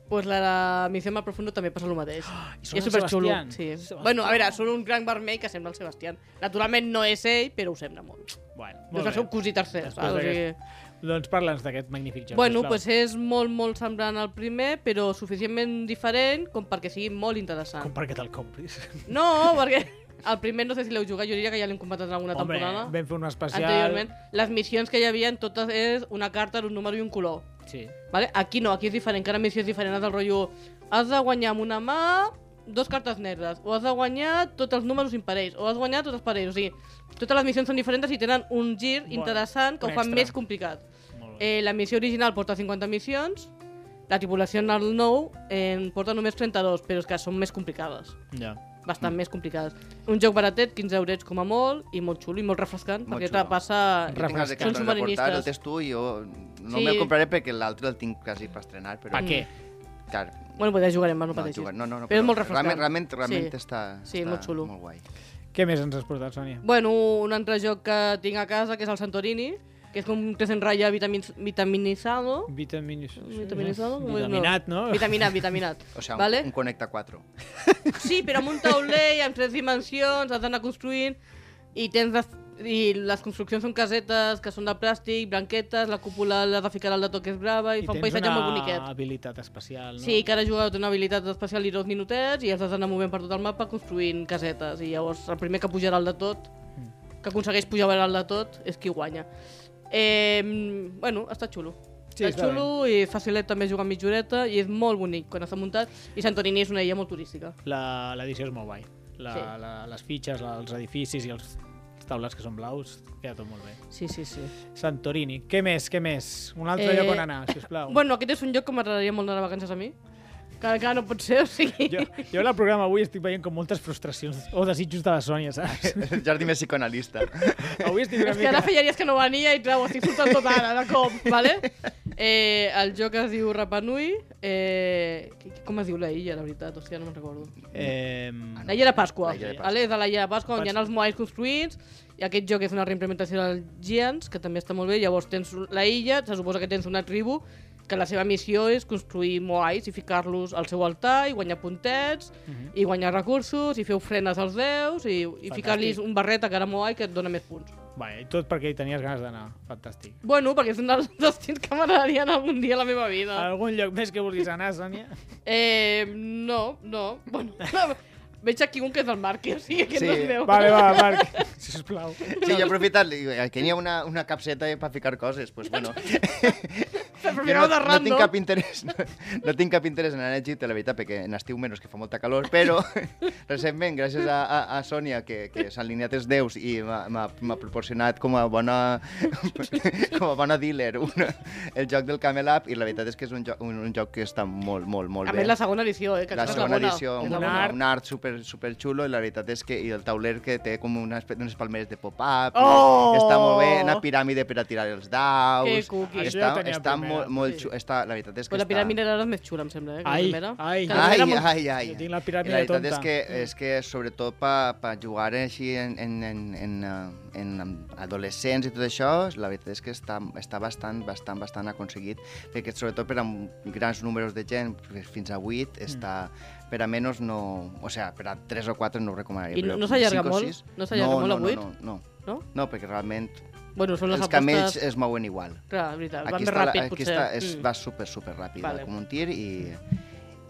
Speaker 3: pues la, de Misión Más Profundo también pasa lo
Speaker 1: i
Speaker 3: mateix. I
Speaker 1: són
Speaker 3: és
Speaker 1: el
Speaker 3: superxulo.
Speaker 1: Sebastián.
Speaker 3: Sí.
Speaker 1: Sebastián.
Speaker 3: Bueno, a veure, surt un gran vermell que sembla el Sebastián. Naturalment no és ell, però ho sembla molt.
Speaker 1: Bueno,
Speaker 3: No és
Speaker 1: molt
Speaker 3: el seu
Speaker 1: bé.
Speaker 3: cosí tercer.
Speaker 1: Després
Speaker 3: Val, o sigui...
Speaker 1: d'aquest- Doncs parla'ns d'aquest magnífic joc.
Speaker 3: Bueno,
Speaker 1: sisplau.
Speaker 3: pues eh, és molt, molt semblant al primer, però suficientment diferent com perquè sigui molt interessant.
Speaker 1: Com perquè te'l compris.
Speaker 3: No, perquè el primer no sé si l'heu jugat, jo diria que ja l'hem comentat en alguna
Speaker 1: Hombre,
Speaker 3: temporada.
Speaker 1: vam fer un especial...
Speaker 3: Anteriorment, les missions que hi havia totes és una carta, un número i un color.
Speaker 1: Sí.
Speaker 3: Vale? Aquí no, aquí és diferent, cada missió és diferent, és del rotllo... Has de guanyar amb una mà dos cartes negres, o has de guanyar tots els números imparells, o has de guanyar tots els parells. O sigui, totes les missions són diferents i tenen un gir
Speaker 1: Bueno,
Speaker 3: interessant que
Speaker 1: un
Speaker 3: ho fan
Speaker 1: extra.
Speaker 3: més complicat.
Speaker 1: Molt bé.
Speaker 3: Eh, la missió original porta 50 missions, la tripulació en el 9 en porta només 32, però és que són més complicades.
Speaker 1: Ja.
Speaker 3: Bastant
Speaker 2: Mm.
Speaker 3: més complicades. Un joc baratet, 15 eurets com a molt, i molt xulo i molt refrescant,
Speaker 2: Molt
Speaker 3: perquè
Speaker 2: xulo.
Speaker 3: te passa...
Speaker 2: Jo tinc ganes de
Speaker 1: Refrescant.
Speaker 2: que
Speaker 3: Són
Speaker 2: el portar, el
Speaker 3: submarinistes.
Speaker 2: tens tu i jo no
Speaker 3: Sí. mm.
Speaker 2: me'l compraré perquè l'altre el tinc quasi per estrenar, però...
Speaker 1: Per què?
Speaker 2: Clar, Clar,
Speaker 3: Bueno, pues ja jugarem, va, no
Speaker 2: no,
Speaker 3: pateixis.
Speaker 2: juga- no, no, no,
Speaker 3: però és molt refrescant.
Speaker 2: Realment, realment, realment
Speaker 3: sí.
Speaker 2: està,
Speaker 3: Sí,
Speaker 2: està
Speaker 3: molt xulo.
Speaker 2: molt guai.
Speaker 1: Què més ens has portat, Sònia?
Speaker 3: Bueno, un altre joc que tinc a casa, que és el Santorini, que és com que se'n ratlla vitamin, vitaminizado.
Speaker 1: Vitaminis...
Speaker 3: Vitaminizado? com és?
Speaker 1: Vitaminat, no?
Speaker 3: Vitaminat, vitaminat.
Speaker 2: Ah. O sigui,
Speaker 3: vale?
Speaker 2: un, un Connecta 4.
Speaker 3: Sí, però amb un tauler amb tres dimensions, has d'anar construint i tens les, i les construccions són casetes que són de plàstic, branquetes, la cúpula l'has de ficar al dato que és brava i, fa un
Speaker 1: tens
Speaker 3: paisatge
Speaker 1: una
Speaker 3: molt boniquet.
Speaker 1: habilitat especial, no?
Speaker 3: Sí, que ara jugador té una habilitat especial i dos minutets i has d'anar movent per tot el mapa construint casetes i llavors el primer que pujarà al de tot,
Speaker 1: Mm.
Speaker 3: que aconsegueix pujar al de tot, és qui guanya. Eh, bueno, està xulo.
Speaker 1: Sí, està
Speaker 3: està xulo i facilet també jugar amb mitjoreta i és molt bonic quan està muntat i Santorini és una illa molt turística.
Speaker 1: La- L'edició és molt guai. La,
Speaker 3: Sí.
Speaker 1: la, les fitxes, la- els edificis i els taulats que són blaus, queda tot molt bé.
Speaker 3: Sí, sí, sí.
Speaker 1: Santorini, què més, què més? Un altre
Speaker 3: Eh,
Speaker 1: lloc on anar, sisplau.
Speaker 3: Bueno, aquest és un lloc que m'agradaria molt anar de vacances a mi. Que encara no pot ser, o sigui...
Speaker 1: Jo, jo en el programa avui estic veient com moltes frustracions o desitjos de la Sònia, saps?
Speaker 2: El jardí més psicoanalista.
Speaker 1: Avui estic una
Speaker 3: És que
Speaker 1: mica...
Speaker 3: ara feia dies que no venia i clar, ho estic surtant tot ara, de cop, vale? Eh, el joc es diu Rapanui, eh, qui- com es diu la illa, la veritat, hòstia, no me'n recordo.
Speaker 1: Eh,
Speaker 3: La illa de Pasqua,
Speaker 2: La illa de Pasqua.
Speaker 3: vale? és de la illa de Pasqua, on hi ha
Speaker 1: Pasqua.
Speaker 3: els moais construïts, i aquest joc és una reimplementació del Giants, que també està molt bé, llavors tens la illa, se suposa que tens una tribu, que la seva missió és construir moais i ficar-los al seu altar i guanyar puntets
Speaker 1: Mhm.
Speaker 3: i guanyar recursos i fer ofrenes als déus i, i ficar-los un barret a cada moai que et dona més punts.
Speaker 1: Vale, i tot perquè hi tenies ganes d'anar. Fantàstic.
Speaker 3: Bueno, perquè és un dels destins que m'agradaria anar algun dia a la meva vida.
Speaker 2: Ah.
Speaker 1: Algun lloc més que vulguis anar, Sònia?
Speaker 3: Eh, no, no. Bueno, veig aquí un que és del Marc, o sigui, aquest
Speaker 2: Sí.
Speaker 3: sí. no és meu.
Speaker 1: Vale, va, Marc, sisplau.
Speaker 2: Sí, jo he aprofitat, li- que n'hi ha "Eh, una, una capseta per ficar coses, doncs bueno.
Speaker 3: Però
Speaker 2: Jo
Speaker 3: mireu
Speaker 2: no,
Speaker 3: de
Speaker 2: no
Speaker 3: random.
Speaker 2: tinc cap interès, no, no tinc cap interès en anar a Egipte, la veritat, perquè en estiu menys, que fa molta calor, però recentment, gràcies a, a, a Sònia, que, que s'ha alineat els déus i m'ha- m'ha m'ha proporcionat com a bona, com a bona dealer una, el joc del Camel Up, i la veritat és que és un joc, un, un joc que està molt, molt, molt
Speaker 3: A
Speaker 2: bé.
Speaker 3: més, la segona edició, eh? Que
Speaker 2: la
Speaker 3: aquesta és
Speaker 2: segona
Speaker 3: bona.
Speaker 2: edició,
Speaker 3: És
Speaker 2: un,
Speaker 3: la
Speaker 2: un
Speaker 3: bona.
Speaker 2: art, un art super, super xulo i la veritat és que i el tauler que té com unes, pe- unes palmeres de pop-up, i
Speaker 1: Oh!
Speaker 2: està molt bé, una piràmide per a tirar els daus,
Speaker 3: Que cuqui.
Speaker 1: Això
Speaker 2: està,
Speaker 1: ja tenia
Speaker 2: està
Speaker 1: primera.
Speaker 2: molt, molt
Speaker 3: Sí.
Speaker 2: xulo, està, la veritat és que
Speaker 3: Però Pues la
Speaker 2: està...
Speaker 3: piràmide ara és més xula, em sembla, eh? Que la
Speaker 1: Ai,
Speaker 3: primera.
Speaker 1: ai.
Speaker 3: Que la
Speaker 2: Ai,
Speaker 3: primera
Speaker 2: ai,
Speaker 3: molt-
Speaker 2: ai,
Speaker 1: Jo tinc la
Speaker 2: I
Speaker 1: piràmide
Speaker 2: la veritat és
Speaker 1: tonta.
Speaker 2: que, és que sobretot per pa jugar així en, en, en, en, eh, en, amb adolescents i tot això, la veritat és que està, està bastant, bastant, bastant aconseguit, perquè sobretot per a grans números de gent, fins a
Speaker 1: Mm.
Speaker 2: 8, està... Per a menys no... O sigui, per a 3 o 4 no ho recomanaria.
Speaker 3: I
Speaker 2: però
Speaker 3: no- no s'allarga
Speaker 2: cinc o
Speaker 3: molt?
Speaker 2: sis-
Speaker 3: No s'allarga molt
Speaker 2: no,
Speaker 3: a vuit?
Speaker 2: No, no,
Speaker 3: No?
Speaker 2: no, no, perquè realment
Speaker 3: Bueno, són les
Speaker 2: els camells
Speaker 3: apostes...
Speaker 2: es mouen igual.
Speaker 3: Clar, és veritat, va
Speaker 2: Aquí
Speaker 3: més
Speaker 2: està, la-
Speaker 3: ràpid,
Speaker 2: aquí
Speaker 3: potser.
Speaker 2: està, és,
Speaker 3: Mm.
Speaker 2: va super, super ràpid,
Speaker 3: Vale.
Speaker 2: vale. com un tir, i,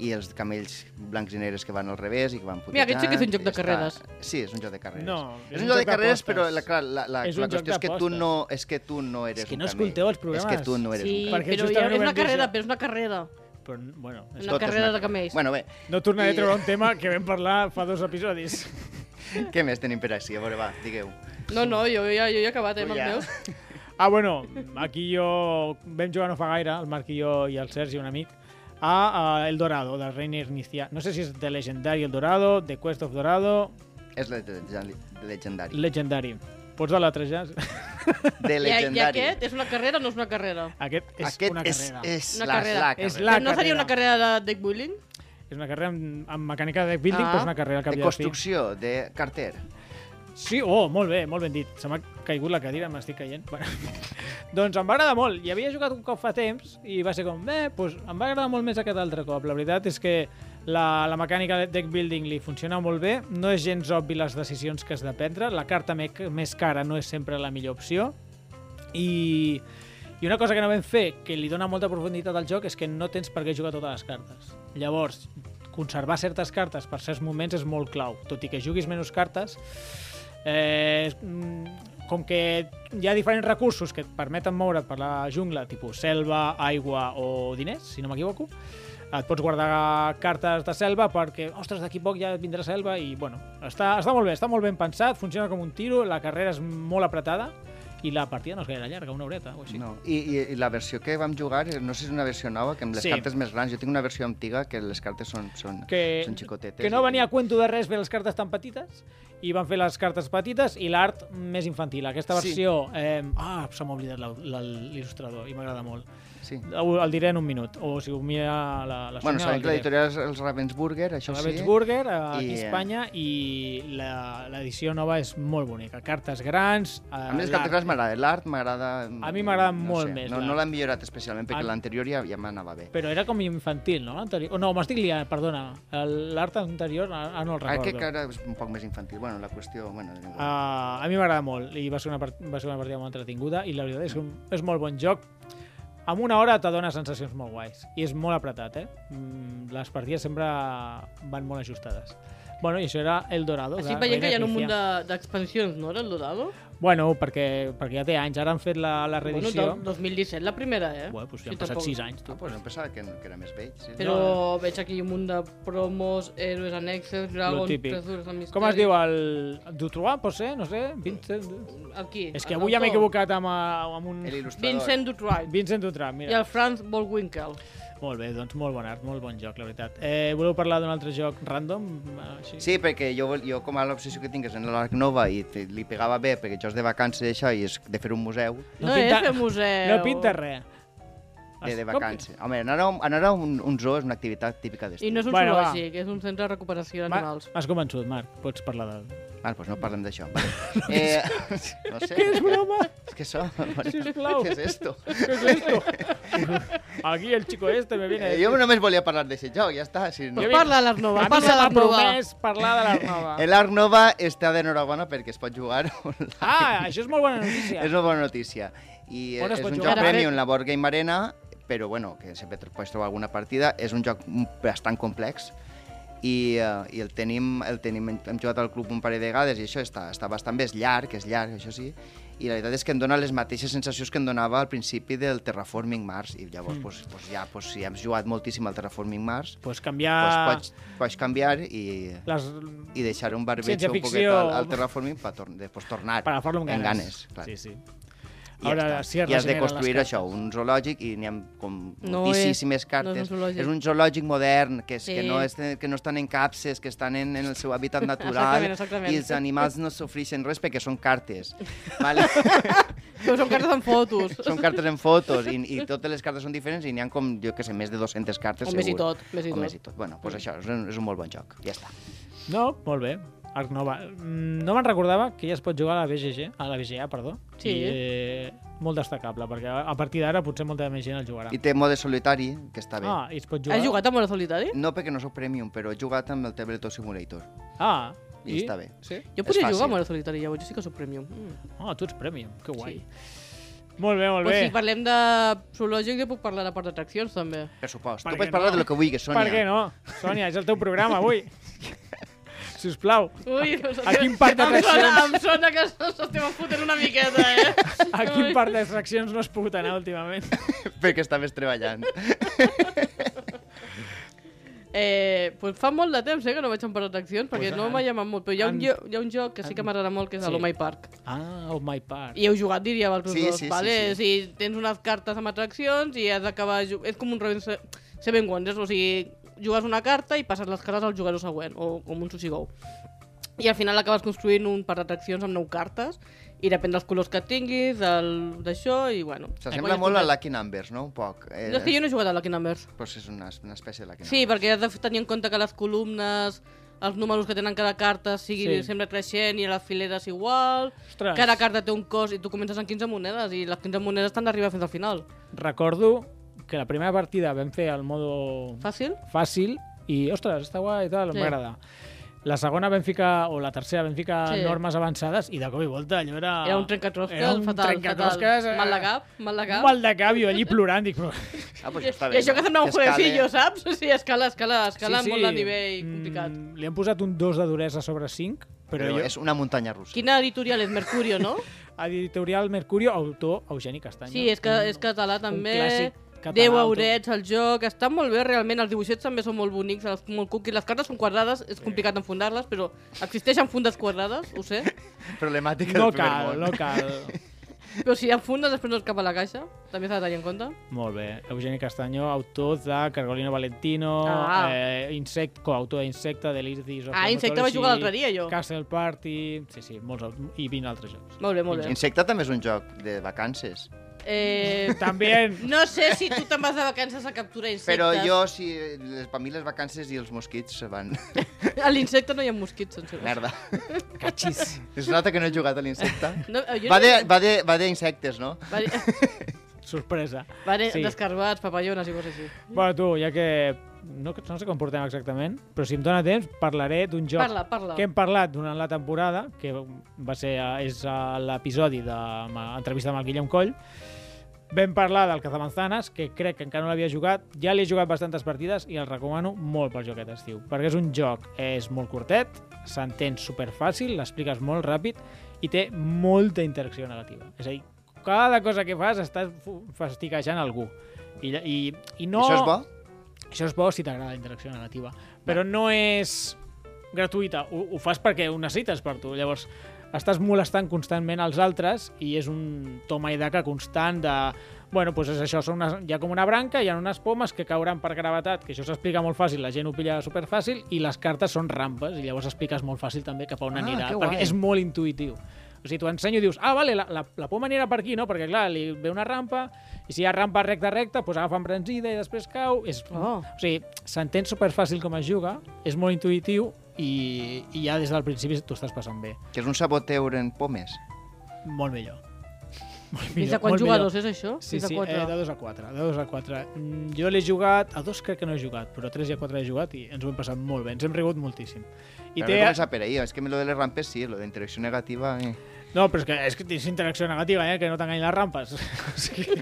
Speaker 2: i els camells blancs i negres que van al revés i que van putejant...
Speaker 3: Mira, aquest sí que és un joc
Speaker 2: i
Speaker 3: de
Speaker 2: està-
Speaker 3: carreres.
Speaker 2: Sí, és un joc de carreres.
Speaker 1: No,
Speaker 2: és, un joc de carreres, però la, clar, la, la,
Speaker 1: És un
Speaker 2: la
Speaker 1: joc
Speaker 2: qüestió és que, tu
Speaker 1: d'apostes.
Speaker 2: no, és que tu no eres
Speaker 1: És que
Speaker 2: un
Speaker 1: no
Speaker 2: camell.
Speaker 1: escolteu els programes.
Speaker 2: És que tu no eres
Speaker 3: Sí,
Speaker 2: un camell.
Speaker 1: Perquè
Speaker 3: però
Speaker 1: justament
Speaker 3: ja,
Speaker 1: ho
Speaker 3: és
Speaker 1: vam
Speaker 3: una
Speaker 1: dir
Speaker 3: carrera,
Speaker 1: això.
Speaker 3: però és una carrera.
Speaker 1: Però, bueno, és...
Speaker 3: Una
Speaker 2: Tot és
Speaker 3: carrera
Speaker 2: una
Speaker 3: de camells.
Speaker 2: Bueno, bé,
Speaker 1: No tornaré a
Speaker 2: I-
Speaker 1: treure un tema que vam parlar fa dos episodis.
Speaker 2: què més tenim per així? A veure, va, digueu.
Speaker 3: No, no, jo ja, jo ja he acabat, eh,
Speaker 2: Tu
Speaker 1: Pues
Speaker 3: amb els
Speaker 2: ja.
Speaker 3: meus.
Speaker 1: Ah, bueno, aquí jo vam jugar no fa gaire, el Marc i jo i el Sergi, un amic, a, a El Dorado, del Reiner Nicià. No sé si és de Legendary El Dorado, de Quest of Dorado,
Speaker 2: És le- de- legendari.
Speaker 1: Legendary. Pots de l'altre ja?
Speaker 2: De
Speaker 3: I, I
Speaker 2: legendari.
Speaker 3: aquest és una carrera o no és una carrera?
Speaker 1: Aquest és
Speaker 2: Aquest
Speaker 1: una
Speaker 2: és,
Speaker 1: carrera.
Speaker 2: és,
Speaker 3: Una
Speaker 2: la,
Speaker 3: carrera.
Speaker 2: la
Speaker 1: És
Speaker 2: carrera.
Speaker 1: la
Speaker 3: Però no seria
Speaker 1: carrera.
Speaker 3: una carrera de deck building?
Speaker 1: És una carrera amb, amb mecànica de deck building,
Speaker 3: Ah.
Speaker 1: ah. però és una carrera al cap
Speaker 2: de
Speaker 1: i a la fi.
Speaker 2: construcció, de carter.
Speaker 1: Sí, oh, molt bé, molt ben dit. Se m'ha caigut la cadira, m'estic caient. Bueno. doncs em va agradar molt. Hi havia jugat un cop fa temps i va ser com, eh, doncs em va agradar molt més aquest altre cop. La veritat és que la, la mecànica de deck building li funciona molt bé. No és gens obvi les decisions que has de prendre. La carta me més cara no és sempre la millor opció. I, I una cosa que no vam fer, que li dona molta profunditat al joc, és que no tens per què jugar totes les cartes. Llavors, conservar certes cartes per certs moments és molt clau. Tot i que juguis menys cartes, eh, mm, com que hi ha diferents recursos que et permeten moure't per la jungla, tipus selva, aigua o diners, si no m'equivoco, et pots guardar cartes de selva perquè, ostres, d'aquí poc ja et vindrà selva i, bueno, està, està molt bé, està molt ben pensat, funciona com un tiro, la carrera és molt apretada i la partida no és gaire llarga, una horeta o així.
Speaker 2: No. I, i, I la versió que vam jugar, eh, no sé si és una versió nova, que amb les
Speaker 1: Sí.
Speaker 2: sí. cartes més grans, jo tinc una versió antiga que les cartes són, són,
Speaker 1: que,
Speaker 2: són xicotetes.
Speaker 1: que no
Speaker 2: i-
Speaker 1: venia a cuento de res fer les cartes tan petites i van fer les cartes petites i l'art més infantil. Aquesta
Speaker 2: Sí.
Speaker 1: versió... Eh, ah, se m'ha oblidat la- la- l'il·lustrador i m'agrada molt.
Speaker 2: Sí.
Speaker 1: Ho- El diré en un minut, o si ho mira la, la
Speaker 2: Bueno,
Speaker 1: Sònia,
Speaker 2: sabem
Speaker 1: el
Speaker 2: que
Speaker 1: diré.
Speaker 2: l'editorial és els Ravensburger, això
Speaker 1: La
Speaker 2: sí.
Speaker 1: Burger, aquí
Speaker 2: I,
Speaker 1: a
Speaker 2: eh,
Speaker 1: Espanya, i la- l'edició nova és molt bonica. Cartes grans... eh,
Speaker 2: A mi les cartes grans m'agrada, l'art m'agrada...
Speaker 1: A mi m'agrada molt
Speaker 2: sé,
Speaker 1: més
Speaker 2: No,
Speaker 1: l'art. Ah.
Speaker 2: no l'han millorat especialment, perquè
Speaker 1: A-
Speaker 2: l'anterior ja, ja m'anava bé.
Speaker 1: Però era com infantil, no? L'anterior... Oh, no, m'estic liant, perdona. El- L'art anterior, ara no el recordo.
Speaker 2: Aquest Ah, que ara és un poc més infantil. Bueno, la qüestió... Bueno, és igual.
Speaker 1: Uh, a mi m'agrada molt i va ser, una part- va ser una partida molt entretinguda i la veritat és que és molt bon joc en una hora te dona sensacions molt guais i és molt apretat, eh? Mm, les partides sempre van molt ajustades bueno, i això era El Dorado
Speaker 3: Estic
Speaker 1: de
Speaker 3: veient que hi ha
Speaker 1: Reina
Speaker 3: un munt
Speaker 1: Crisia.
Speaker 3: de- d'expansions, no, era el Dorado?
Speaker 1: bueno, perquè, perquè ja té anys ara han fet la, la
Speaker 3: Bueno,
Speaker 1: reedició
Speaker 3: del 2017, la primera, eh?
Speaker 1: bueno, doncs
Speaker 3: Sí,
Speaker 1: ja han passat
Speaker 3: tampoc-
Speaker 1: 6 anys tu.
Speaker 2: Ah, pues em pensava que, que era més vell. Sí.
Speaker 3: Però veig aquí un munt de promos, héroes annexes, dragon,
Speaker 1: típic.
Speaker 3: tresures de misteri...
Speaker 1: com es diu el Dutrois, pot ser? no sé Vincent...
Speaker 3: Aquí.
Speaker 1: és que avui ja m'he equivocat amb, eh, amb un
Speaker 2: El il·lustrador.
Speaker 3: Vincent Dutroy.
Speaker 1: Vincent Dutrois, mira
Speaker 3: I el Franz Bollwinkel.
Speaker 1: Molt bé, doncs molt bon art, molt bon joc, la veritat. Eh, voleu parlar d'un altre joc random? Eh, Així?
Speaker 2: Sí, perquè jo, vol- jo com a l'obsessió que tinc és en l'Arc Nova i te, li pegava bé perquè jo és de vacances i això i és de fer un museu
Speaker 1: No
Speaker 3: No, eh,
Speaker 1: pinta-
Speaker 3: és de museu.
Speaker 1: No pinta res.
Speaker 2: de, de
Speaker 1: Es-
Speaker 2: vacances. Home, anar a, un- anar a un, un zoo és una activitat típica
Speaker 3: I
Speaker 2: d'estiu.
Speaker 3: no és un
Speaker 1: Bueno, va.
Speaker 3: zoològic, és un centre de recuperació
Speaker 1: Ma-
Speaker 3: d'animals.
Speaker 1: M'has convençut, Marc, pots parlar de...
Speaker 2: Ah, doncs no parlem d'això. Vale. eh, no sé,
Speaker 1: Què és broma?
Speaker 2: és que això...
Speaker 1: Sisplau.
Speaker 2: Què és esto?
Speaker 1: ¿Qué es esto? Aquí el chico este me viene... a
Speaker 2: Eh,
Speaker 1: decir-
Speaker 2: jo només volia parlar d'aquest joc, ja està. Si no...
Speaker 3: Pues parla de les noves,
Speaker 1: A mi se
Speaker 3: parla
Speaker 1: m'ha
Speaker 3: de prova.
Speaker 1: promès parlar de la nova.
Speaker 2: L'Arc Nova està d'enhorabona perquè es pot jugar online.
Speaker 1: Ah, això és molt bona notícia.
Speaker 2: És una bona notícia. I
Speaker 1: On es
Speaker 2: és
Speaker 1: pot
Speaker 2: un
Speaker 1: jugar?
Speaker 2: joc
Speaker 3: Ara,
Speaker 2: premium,
Speaker 3: ara-
Speaker 2: la Board Game Arena, però bueno, que sempre te pots trobar alguna partida. És un joc bastant complex i, eh, i el tenim, el tenim, hem jugat al club un parell de vegades i això està, està bastant bé, és llarg, és llarg, això sí, i la veritat és que em dona les mateixes sensacions que em donava al principi del Terraforming Mars i
Speaker 1: Mm.
Speaker 2: llavors, pues, pues ja, pues, si hem jugat moltíssim al Terraforming Mars,
Speaker 1: Pots
Speaker 2: pues
Speaker 1: canviar
Speaker 2: pots, pots canviar i,
Speaker 1: les...
Speaker 2: i deixar un barbetxo un poquet
Speaker 1: Ciència-ficció.
Speaker 2: al, al terraforming per tor després tornar
Speaker 1: per agafar-lo amb ganes.
Speaker 2: amb ganes clar.
Speaker 1: Sí, sí.
Speaker 2: I,
Speaker 1: Ara
Speaker 2: ja
Speaker 1: sí es
Speaker 2: està. I has
Speaker 1: regeneren
Speaker 2: de
Speaker 1: les
Speaker 2: construir
Speaker 1: cartes.
Speaker 2: això, un zoològic i n'hi ha com
Speaker 3: No
Speaker 2: moltíssimes
Speaker 3: és-
Speaker 2: cartes.
Speaker 3: no és un zoològic.
Speaker 2: és un zoològic modern, que, és,
Speaker 3: Sí.
Speaker 2: que, no és, que no estan en capses, que estan en, en el seu hàbitat natural
Speaker 3: Exactament, exactament.
Speaker 2: i els animals no sofreixen res perquè són cartes. Vale?
Speaker 3: Però són cartes amb fotos.
Speaker 2: són cartes en fotos i, i totes les cartes són diferents i n'hi ha com, jo que sé, més de 200 cartes
Speaker 3: O
Speaker 2: segur.
Speaker 3: més i tot, més i
Speaker 2: o
Speaker 3: tot. Mm.
Speaker 2: més i tot. Bueno, doncs això, és un, és un molt bon joc. Ja està.
Speaker 1: No, molt bé. Arc Nova. Mm, No me'n recordava que ja es pot jugar a la BGG, a la BGA, perdó.
Speaker 3: Sí.
Speaker 1: I, eh, molt destacable, perquè a a partir d'ara potser molta més gent el jugarà.
Speaker 2: I té mode solitari, que està bé.
Speaker 1: Ah, i es pot jugar...
Speaker 3: Has jugat a Mora Solitari?
Speaker 2: No perquè no sóc premium, però he jugat amb el Tabletop Simulator.
Speaker 1: Ah,
Speaker 2: I està bé.
Speaker 1: Sí?
Speaker 3: Jo
Speaker 2: És
Speaker 3: podria jugar a
Speaker 2: fàcil.
Speaker 3: Mora Solitari, llavors jo sí que soc premium. Mm.
Speaker 1: Ah, tu ets premium, que guai.
Speaker 3: Sí.
Speaker 1: Sí. Molt bé, molt
Speaker 3: Però
Speaker 1: bé.
Speaker 3: si parlem de zoològic, jo puc parlar de part d'atraccions, també.
Speaker 2: Per supost.
Speaker 1: Per
Speaker 2: tu
Speaker 1: què
Speaker 2: pots parlar
Speaker 1: no?
Speaker 2: de lo que vulguis, Sònia.
Speaker 1: Per què no? Sònia, és el teu programa avui. si us plau,
Speaker 3: Ui,
Speaker 1: a quin parc
Speaker 3: em sona,
Speaker 1: d'atraccions-
Speaker 3: em sona que s'estem fotent una miqueta, eh?
Speaker 1: a quin part d'extraccions no has pogut anar últimament?
Speaker 2: perquè estaves treballant.
Speaker 3: Eh, pues fa molt de temps eh, que no vaig a part d'atraccions, perquè
Speaker 1: Pues,
Speaker 3: no
Speaker 1: eh,
Speaker 3: m'ha llamat molt, però hi ha, un,
Speaker 1: en-
Speaker 3: jo- hi ha un joc que sí que m'agrada molt, que és
Speaker 1: sí.
Speaker 3: sí. l'Omai Park.
Speaker 1: Ah, oh my part.
Speaker 3: I heu jugat, diria, vosaltres
Speaker 2: Sí,
Speaker 3: dos,
Speaker 2: sí, sí,
Speaker 3: vale?
Speaker 2: sí.
Speaker 3: O sigui, tens unes cartes amb atraccions i has d'acabar... ju- És com un Robin Se- Seven Wonders, o sigui, jugues una carta i passes les cartes al jugador següent, o com un sushi go. I al final acabes construint un par d'atraccions amb nou cartes i depèn dels colors que tinguis, del- d'això, i bueno...
Speaker 2: S'assembla
Speaker 3: Quan
Speaker 2: molt a
Speaker 3: ja
Speaker 2: Lucky Numbers, no? Un poc.
Speaker 3: és
Speaker 2: Eh,
Speaker 3: complet. És que jo no he jugat a la Numbers.
Speaker 2: Pues és una, una espècie de Lucky
Speaker 3: Sí, perquè has de tenir en compte que les columnes, els números que tenen cada carta sigui
Speaker 1: Sí.
Speaker 3: sí. sempre creixent i a les fileres igual.
Speaker 1: Ostres.
Speaker 3: Cada carta té un cost i tu comences amb 15 monedes i les 15 monedes t'han d'arribar fins al final.
Speaker 1: Recordo que la primera partida vam fer el modo
Speaker 3: Fàcil?
Speaker 1: fàcil i, ostres, està guai i tal,
Speaker 3: Sí.
Speaker 1: m'agrada. La segona vam ficar, o la tercera vam ficar
Speaker 3: Sí.
Speaker 1: normes avançades i de cop i volta allò era...
Speaker 3: Era un trencacrosques,
Speaker 1: Ah. Era un
Speaker 3: fatal,
Speaker 1: trencaclosques, eh,
Speaker 3: fatal. Mal de cap, mal de cap.
Speaker 1: Mal de cap, jo allí plorant, dic, però...
Speaker 2: Numbers. Ah, pues
Speaker 3: I,
Speaker 2: està
Speaker 3: I
Speaker 2: bé.
Speaker 3: això que
Speaker 2: no?
Speaker 3: sembla un
Speaker 2: escale.
Speaker 3: jueguecillo, saps? Sí, escala, escala, escala sí, sí. molt de nivell
Speaker 1: Mm,
Speaker 3: complicat.
Speaker 1: Li han posat un 2 de duresa sobre 5, però,
Speaker 2: Però
Speaker 1: però jo...
Speaker 2: és una muntanya russa.
Speaker 3: Quina editorial és? Mercurio, no?
Speaker 1: Editorial Mercurio, autor Eugeni Castanya.
Speaker 3: Sí, és, que, és català també.
Speaker 1: clàssic català,
Speaker 3: 10
Speaker 1: autor.
Speaker 3: aurets al joc, estan molt bé realment, els dibuixets també són molt bonics, els, molt cookies, les cartes són quadrades, és complicat enfundar-les, però existeixen fundes quadrades, ho sé,
Speaker 2: Problemàtica
Speaker 1: No
Speaker 2: del primer
Speaker 1: cal,
Speaker 2: món.
Speaker 1: no cal.
Speaker 3: però si enfundes després no es cap a la caixa, també s'ha de tenir en compte.
Speaker 1: Molt bé. Eugeni Castanyo, autor de Cargolino Valentino,
Speaker 3: Ah.
Speaker 1: eh, Insect, coautor d'Insecta, de l'Irdis...
Speaker 3: Ah, Insecta va jugar l'altre dia, jo.
Speaker 1: Castle Party... Sí, sí, molts, aut- i 20 altres jocs.
Speaker 3: Molt bé, molt bé.
Speaker 2: Insecta també és un joc de vacances.
Speaker 3: Eh,
Speaker 1: També.
Speaker 3: no sé si tu te'n vas de vacances a capturar insectes.
Speaker 2: Però jo, si les, per mi les vacances i els mosquits se van...
Speaker 3: A l'insecte no hi ha mosquits, em sembla.
Speaker 2: Merda.
Speaker 1: Cachis.
Speaker 2: Es nota que no he jugat a l'insecte.
Speaker 3: No, eh, jo
Speaker 2: Va,
Speaker 3: no-
Speaker 2: de, va, de, va de insectes, no?
Speaker 3: Va de-
Speaker 1: Sorpresa.
Speaker 3: va de-
Speaker 1: Sí.
Speaker 3: d'escarbats, papallones i coses així.
Speaker 1: Bueno, tu, ja que... No, no sé com portem exactament, però si em dóna temps parlaré d'un joc
Speaker 3: Parla, parla.
Speaker 1: que hem parlat durant la temporada, que va ser, eh, és eh, l'episodi de l'entrevista amb el Guillem Coll. Vam parlar del Cazamanzanes, que crec que encara no l'havia jugat. Ja l'he jugat bastantes partides i el recomano molt pel joc aquest estiu, perquè és un joc, és molt curtet, s'entén superfàcil, l'expliques molt ràpid i té molta interacció negativa. És a dir, cada cosa que fas estàs fu- fastiquejant algú. I, i, i no...
Speaker 2: No. Això és bo?
Speaker 1: Això és bo si t'agrada la interacció negativa, però no és gratuïta, ho, ho fas perquè ho necessites per tu. Llavors, estàs molestant constantment els altres i és un toma i daca constant de... Bueno, doncs és això, són unes, hi ha com una branca, hi ha unes pomes que cauran per gravetat, que això s'explica molt fàcil, la gent ho pilla superfàcil, i les cartes són rampes, i llavors expliques molt fàcil també cap a on
Speaker 2: Ah,
Speaker 1: anirà,
Speaker 2: que
Speaker 1: perquè
Speaker 2: guai.
Speaker 1: és molt intuïtiu. O sigui, t'ho ensenyo i dius, ah, vale, la, la, la poma anirà per aquí, no? Perquè, clar, li ve una rampa, i si hi ha rampa recta, recta, doncs agafa embranzida i després cau. És,
Speaker 3: Oh.
Speaker 1: O sigui, s'entén superfàcil com es juga, és molt intuïtiu i, i ja des del principi t'ho estàs passant bé.
Speaker 2: Que és un saboteur en pomes.
Speaker 1: Molt millor. Molt
Speaker 3: Fins a quants jugadors és això?
Speaker 1: Sí,
Speaker 3: Fins a
Speaker 1: sí,
Speaker 3: quatre.
Speaker 1: eh, de 2 a 4, de 2 a 4. Jo l'he jugat, a 2 crec que no he jugat, però a 3 i a 4 he jugat i ens ho hem passat molt bé, ens hem rigut moltíssim.
Speaker 2: I té... comença per ahir. És que lo de les rampes sí, lo d'interacció negativa... Eh.
Speaker 1: No, però és que, és que tens interacció negativa, eh? que no t'enganyin les rampes. o sigui,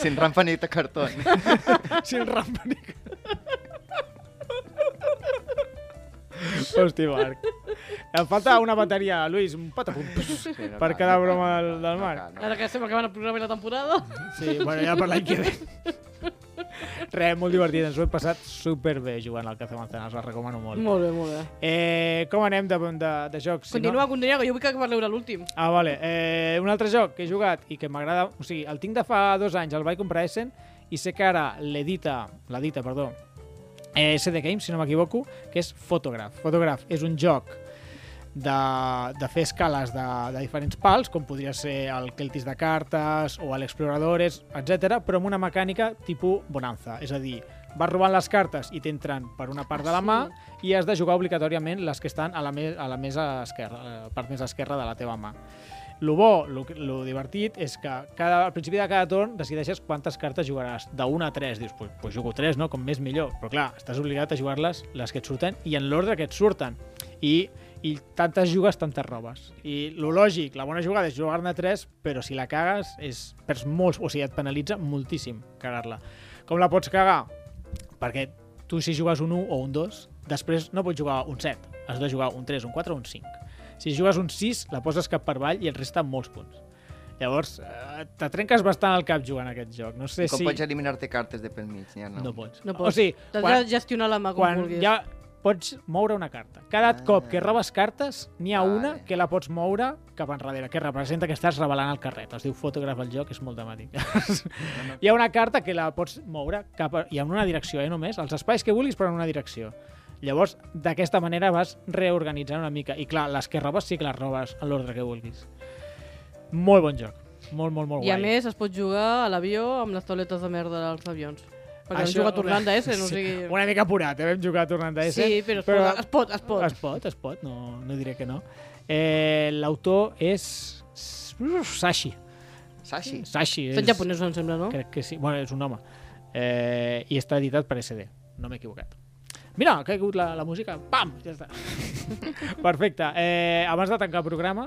Speaker 2: Sin rampa ni de cartó.
Speaker 1: si el rampa ni... Hosti, Marc. Em falta una bateria, Luis, un patapum. Per cada broma del, del Marc.
Speaker 3: Ara que estem acabant el programa i la temporada.
Speaker 1: Sí, bueno, ja per l'any que ve. Res, molt divertit, ens ho hem passat superbé jugant al Caza Manzanas, la recomano molt.
Speaker 3: Molt bé, molt bé.
Speaker 1: Eh, com anem de, de, de jocs? Si
Speaker 3: Continua,
Speaker 1: No?
Speaker 3: continua, que jo vull que parleu de l'últim.
Speaker 1: Ah, vale. Eh, un altre joc que he jugat i que m'agrada... O sigui, el tinc de fa dos anys, el vaig comprar a Essen i sé que ara l'edita, l'edita, perdó, eh, CD Games, si no m'equivoco, que és Photograph. Photograph és un joc de, de fer escales de, de diferents pals, com podria ser el Celtis de cartes o l'Exploradores, etc, però amb una mecànica tipus bonanza. És a dir, vas robant les cartes i t'entren per una part de la mà i has de jugar obligatòriament les que estan a la, me a la mesa esquerra, a la part més esquerra de la teva mà. Lo bo, lo, que- lo divertit, és que cada, al principi de cada torn decideixes quantes cartes jugaràs. De 1 a 3, dius, pues, pues jugo 3, no? com més millor. Però clar, estàs obligat a jugar-les les que et surten i en l'ordre que et surten. I, i tantes jugues, tantes robes. I lo lògic, la bona jugada és jugar-ne 3, però si la cagues, és, perds molts, o sigui, et penalitza moltíssim cagar-la. Com la pots cagar? Perquè tu si jugues un 1 o un 2, després no pots jugar un 7, has de jugar un 3, un 4 o un 5. Si jugues un 6, la poses cap per avall i et resten molts punts. Llavors, eh, te trenques bastant el cap jugant a aquest joc. No sé
Speaker 2: Com
Speaker 1: si...
Speaker 2: pots eliminar-te cartes de pel mig? Ja no.
Speaker 1: No pots.
Speaker 3: No pots.
Speaker 1: O
Speaker 3: Doncs
Speaker 1: sigui,
Speaker 3: T'has
Speaker 1: quan-
Speaker 3: de gestionar la mà com
Speaker 1: quan
Speaker 3: vulguis.
Speaker 1: ja pots moure una carta. Cada
Speaker 2: Ah.
Speaker 1: cop que robes cartes, n'hi ha
Speaker 2: Vale.
Speaker 1: una que la pots moure cap enrere, que representa que estàs revelant el carret. Es diu fotògraf al joc, és molt temàtic. hi ha una carta que la pots moure cap a, i en una direcció, eh, només, els espais que vulguis, però en una direcció. Llavors, d'aquesta manera vas reorganitzant una mica. I clar, les que robes sí que les robes en l'ordre que vulguis. Molt bon joc. Molt, molt, molt
Speaker 3: I a
Speaker 1: guai.
Speaker 3: més es pot jugar a l'avió amb les tauletes de merda dels avions. Perquè Això...
Speaker 1: Això-
Speaker 3: juga tornant d'Essen, o sigui...
Speaker 1: Una mica apurat, eh? vam jugar tornant a Essen.
Speaker 3: Sí, però es, però... Pot, es pot, es pot.
Speaker 1: Es pot, es pot, no, no diré que no. Eh, L'autor és... Uf, Sashi.
Speaker 2: Sashi.
Speaker 1: Sashi és...
Speaker 3: Són japonesos, em sembla, no?
Speaker 1: Crec que sí. Bueno, és un home. Eh, I està editat per SD. No m'he equivocat. Mira, ha caigut la, la música. Pam! Ja està. Perfecte. Eh, abans de tancar el programa,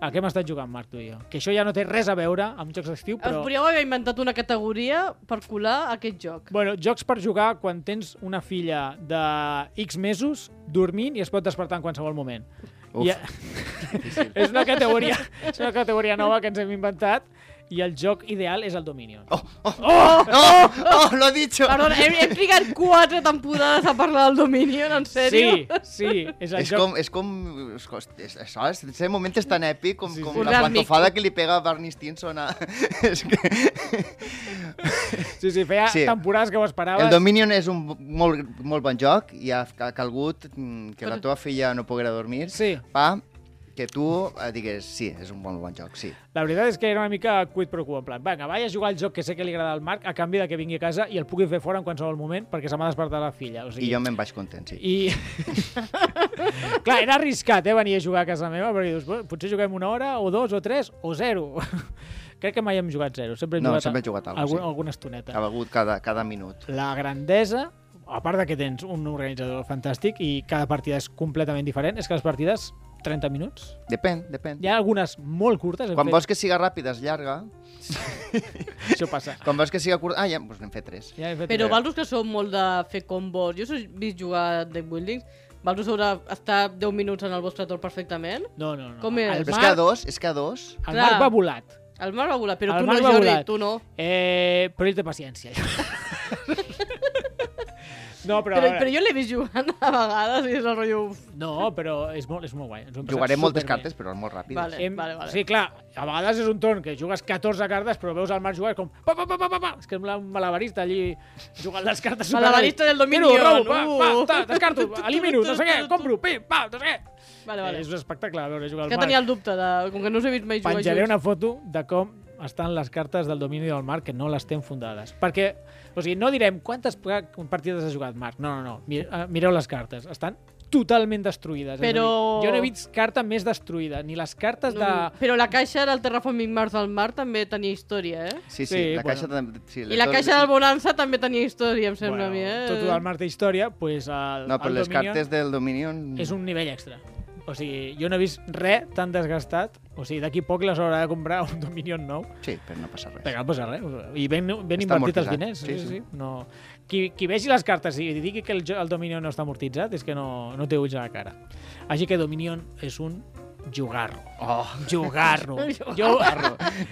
Speaker 1: a què hem estat jugant, Marc, tu i jo? Que això ja no té res a veure amb jocs d'estiu,
Speaker 3: Però...
Speaker 1: però...
Speaker 3: Us podríeu haver inventat una categoria per colar aquest joc.
Speaker 1: Bueno, jocs per jugar quan tens una filla de X mesos dormint i es pot despertar en qualsevol moment.
Speaker 2: Uf.
Speaker 1: I, és una categoria, és una categoria nova que ens hem inventat i el joc ideal és el Dominion.
Speaker 2: Oh, oh, oh, oh, oh, lo he dicho.
Speaker 3: Perdona, hem, hem trigat quatre temporades a parlar del Dominion, en sèrio?
Speaker 1: sí, sí, és el
Speaker 2: És
Speaker 1: joc.
Speaker 2: com, és com... És, cost- és, és, és, ese moment és tan èpic com,
Speaker 1: Sí,
Speaker 2: com
Speaker 1: sí.
Speaker 2: la
Speaker 3: Posar el
Speaker 2: pantofada que li pega a Barney Stinson a... és que...
Speaker 1: Sí, sí, feia
Speaker 2: Sí.
Speaker 1: temporades que ho esperaves.
Speaker 2: El Dominion és un molt, molt bon joc i ha ca- calgut mm, que la teva filla no poguera dormir.
Speaker 1: Sí.
Speaker 2: Pa, que tu eh, digues sí, és un bon, bon joc, sí.
Speaker 1: La veritat és que era una mica quid pro quo, en plan, vinga, vaig a jugar al joc que sé que li agrada al Marc a canvi de que vingui a casa i el pugui fer fora en qualsevol moment perquè se m'ha despertat la filla. O sigui,
Speaker 2: I jo me'n vaig content, sí.
Speaker 1: I... Clar, era arriscat, eh, venir a jugar a casa meva, perquè dius, "Bé, potser juguem una hora, o dos, o tres, o zero. Crec que mai hem jugat zero, sempre hem
Speaker 2: No,
Speaker 1: jugat,
Speaker 2: sempre he jugat alguna,
Speaker 1: algun,
Speaker 2: sí. Ah,
Speaker 1: alguna estoneta.
Speaker 2: Ha begut cada, cada minut.
Speaker 1: La grandesa, a part de que tens un organitzador fantàstic i cada partida és completament diferent, és que les partides 30 minuts.
Speaker 2: Depèn, depèn.
Speaker 1: Hi ha algunes molt curtes. hem
Speaker 2: Quan
Speaker 1: fet-
Speaker 2: vols que siga ràpida és llarga,
Speaker 1: Això passa.
Speaker 2: quan vols que siga curta... Ah, ja, doncs n'hem fet tres.
Speaker 1: Ja he fet
Speaker 3: Però Valros que són molt de fer combos. Jo us he vist jugar a deck building. Valros haurà estar 10 minuts en el vostre torn perfectament.
Speaker 1: No, no, no.
Speaker 3: Com
Speaker 1: el Marc,
Speaker 3: era?
Speaker 2: Però és que a dos, és que a dos...
Speaker 1: el
Speaker 3: Clar.
Speaker 1: Marc va volat.
Speaker 3: El Marc va volar, però
Speaker 1: El
Speaker 3: tu
Speaker 1: Marc
Speaker 3: no,
Speaker 1: va
Speaker 3: Jordi,
Speaker 1: volar.
Speaker 3: tu no.
Speaker 1: Eh, però és de paciència. no, però...
Speaker 3: Però, però, jo l'he vist jugant a vegades i és el rotllo... uf.
Speaker 1: No, però és molt, és molt guai. Ens ho hem passat
Speaker 2: Jugaré moltes
Speaker 1: superbé.
Speaker 2: cartes, però molt ràpides.
Speaker 3: Vale. vale, vale.
Speaker 1: Sí, clar, a vegades és un torn que jugues 14 cartes, però veus el Marc jugar com... Pa, pa, pa, pa, pa, pa. És que sembla un malabarista allí jugant les cartes. superbé.
Speaker 3: Malabarista del Dominion,
Speaker 1: Miro, robo, pa,
Speaker 3: uh.
Speaker 1: pa, ta, descarto, elimino, no sé què, compro, pim, pa, no sé què.
Speaker 3: Vale,
Speaker 1: Eh,
Speaker 3: vale.
Speaker 1: és un espectacle veure jugar
Speaker 3: És
Speaker 1: al
Speaker 3: que
Speaker 1: Marc.
Speaker 3: tenia el dubte, de, com que no us he vist mai jugar
Speaker 1: Penjaré
Speaker 3: junts.
Speaker 1: una foto de com estan les cartes del domini del Marc que no les té fundades. Perquè, o sigui, no direm quantes pa- partides ha jugat Marc. No, no, no. Mi- eh, Mireu les cartes. Estan totalment destruïdes. És a dir,
Speaker 3: Però-
Speaker 1: Jo no he vist carta més destruïda. Ni les cartes de...
Speaker 3: No, però la caixa del Terraforming Mars del Mar també tenia història, eh?
Speaker 2: Sí, sí,
Speaker 1: Sí,
Speaker 2: la
Speaker 1: bueno.
Speaker 2: caixa... també- Sí,
Speaker 3: I la
Speaker 2: tot-
Speaker 3: caixa del Bonanza també tenia història, em
Speaker 1: Bueno,
Speaker 3: sembla a mi, eh?
Speaker 1: tot el Marc té història, pues, el,
Speaker 2: No, però
Speaker 1: el
Speaker 2: les
Speaker 1: Dominion
Speaker 2: cartes del Dominion...
Speaker 1: és un nivell extra. O sigui, jo no he vist res tan desgastat. O sigui, d'aquí poc les haurà de comprar un Dominion nou.
Speaker 2: Sí, però no passa res.
Speaker 1: Però no passa res. I ben, ben
Speaker 2: Està
Speaker 1: invertit els
Speaker 2: amortitzat.
Speaker 1: diners.
Speaker 2: Sí,
Speaker 1: Sí, sí.
Speaker 2: sí.
Speaker 1: sí. No. Qui, qui vegi les cartes i digui que el, jo- el Dominion no està amortitzat és que no, no té ulls a la cara. Així que Dominion és un jugarro.
Speaker 2: Oh,
Speaker 1: Jugarro. jo,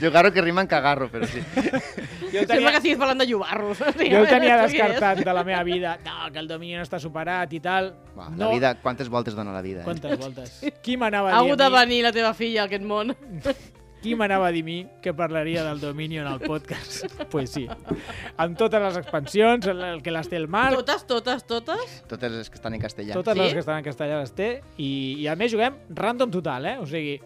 Speaker 2: jugarro que rima en cagarro, però sí.
Speaker 1: jo
Speaker 3: Sembla
Speaker 1: tenia,
Speaker 3: que estiguis parlant de llobarros.
Speaker 1: jo ho tenia descartat de la meva vida. No, que el Dominion està superat i tal.
Speaker 2: Va,
Speaker 1: no.
Speaker 2: la vida, quantes voltes dona la vida, eh?
Speaker 1: Quantes voltes? Qui m'anava
Speaker 3: Ha
Speaker 1: a dir
Speaker 3: hagut de
Speaker 1: a mi,
Speaker 3: venir la teva filla a aquest món.
Speaker 1: qui m'anava a dir a mi que parlaria del Dominion al podcast? Doncs pues sí. Amb totes les expansions, el, el que les té el Marc,
Speaker 3: Totes, totes, totes?
Speaker 2: Totes les que estan en castellà.
Speaker 1: Totes
Speaker 3: Sí?
Speaker 1: les que estan en castellà les té i, i a més juguem random total, eh? O sigui,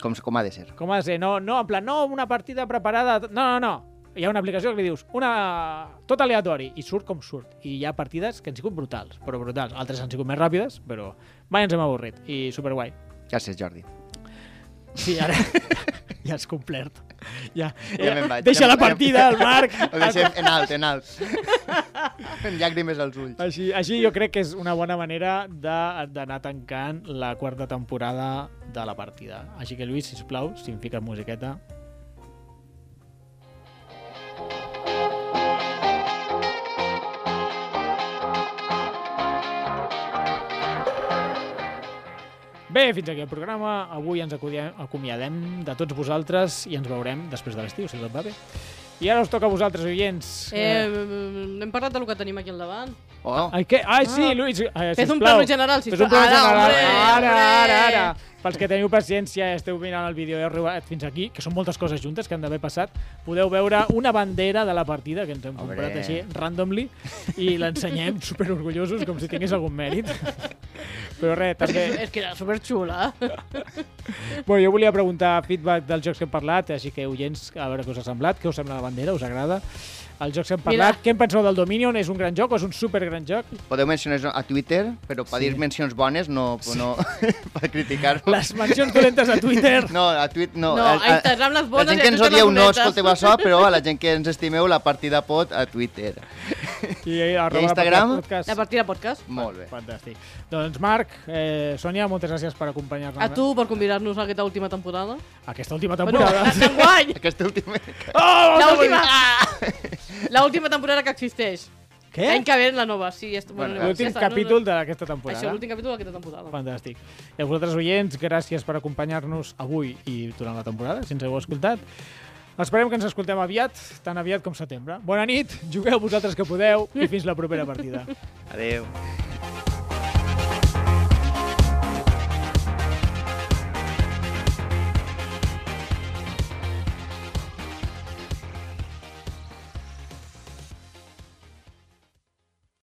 Speaker 2: Com, com ha de ser.
Speaker 1: com ha de ser? No, no, en plan, no, una partida preparada... No, no, no. Hi ha una aplicació que li dius una... tot aleatori i surt com surt. I hi ha partides que han sigut brutals, però brutals. Altres han sigut més ràpides, però mai ens hem avorrit. I superguai.
Speaker 2: Gràcies, Jordi.
Speaker 1: Sí, ara ja has complert. Ja,
Speaker 2: Ja me'n vaig,
Speaker 1: Deixa
Speaker 2: ja me'n
Speaker 1: la
Speaker 2: vaig.
Speaker 1: partida, el Marc.
Speaker 2: Ho deixem en alt, en alt. Fent llàgrimes als ulls.
Speaker 1: Així, així jo crec que és una bona manera de- d'anar tancant la quarta temporada de la partida. Així que, Lluís, sisplau, si em fiques musiqueta... Bé, fins aquí el programa. Avui ens acodiem- acomiadem de tots vosaltres i ens veurem després de l'estiu, si tot va bé. I ara us toca a vosaltres, oients.
Speaker 3: Eh, hem parlat del que tenim aquí al davant.
Speaker 2: Oh,
Speaker 1: Ai, què? Ai, sí,
Speaker 3: Ah.
Speaker 1: Lluís, eh,
Speaker 3: Fes un
Speaker 1: sisplau.
Speaker 3: plano general,
Speaker 1: Fes un
Speaker 3: sisplau.
Speaker 1: plano general.
Speaker 3: Ara, hombre,
Speaker 1: ara,
Speaker 3: hombre.
Speaker 1: ara, ara. Pels que teniu paciència i esteu mirant el vídeo i heu arribat fins aquí, que són moltes coses juntes que han d'haver passat, podeu veure una bandera de la partida que ens hem
Speaker 2: Hombre.
Speaker 1: comprat així, randomly, i l'ensenyem superorgullosos, com si tingués algun mèrit. Però res, també...
Speaker 3: És que era superxula.
Speaker 1: Bueno, jo volia preguntar feedback dels jocs que hem parlat, així que, oients, a veure què us ha semblat, què us sembla la bandera, us agrada? Els jocs que hem
Speaker 3: Mira.
Speaker 1: parlat, què en penseu del Dominion? És un gran joc o és un supergran joc?
Speaker 2: podeu mencionar a Twitter, però per dir mencions bones, no, no per criticar-ho.
Speaker 1: Les mencions dolentes a Twitter.
Speaker 2: No, a tuit no.
Speaker 3: No, a Instagram les bones
Speaker 2: La
Speaker 3: i
Speaker 2: gent
Speaker 3: a
Speaker 2: que ens
Speaker 3: Twitter les
Speaker 2: odieu no
Speaker 3: dolentes.
Speaker 2: escolteu això, però a la gent que ens estimeu la partida pot a Twitter.
Speaker 1: I, arroba la
Speaker 2: Instagram?
Speaker 1: Partida Podcast.
Speaker 3: La partida podcast.
Speaker 2: Molt bé.
Speaker 1: Fantàstic. Doncs Marc, eh, Sònia, moltes gràcies per acompanyar-nos.
Speaker 3: A tu per convidar-nos a aquesta última temporada.
Speaker 1: Aquesta última
Speaker 3: Bueno,
Speaker 1: temporada.
Speaker 3: enguany!
Speaker 2: Aquesta última...
Speaker 1: oh,
Speaker 3: La
Speaker 1: no
Speaker 3: última,
Speaker 1: vull-
Speaker 3: la última temporada que existeix.
Speaker 1: Què?
Speaker 3: L'any que ve la nova, sí. Ja està,
Speaker 2: Bueno,
Speaker 3: bueno,
Speaker 1: L'últim
Speaker 3: ja està, no, no.
Speaker 1: capítol d'aquesta temporada.
Speaker 3: Això, l'últim capítol d'aquesta temporada.
Speaker 1: Fantàstic. I a vosaltres, oients, gràcies per acompanyar-nos avui i durant la temporada, si ens heu escoltat. Esperem que ens escoltem aviat, tan aviat com setembre. Bona nit, jugueu vosaltres que podeu i fins la propera partida.
Speaker 2: Adéu.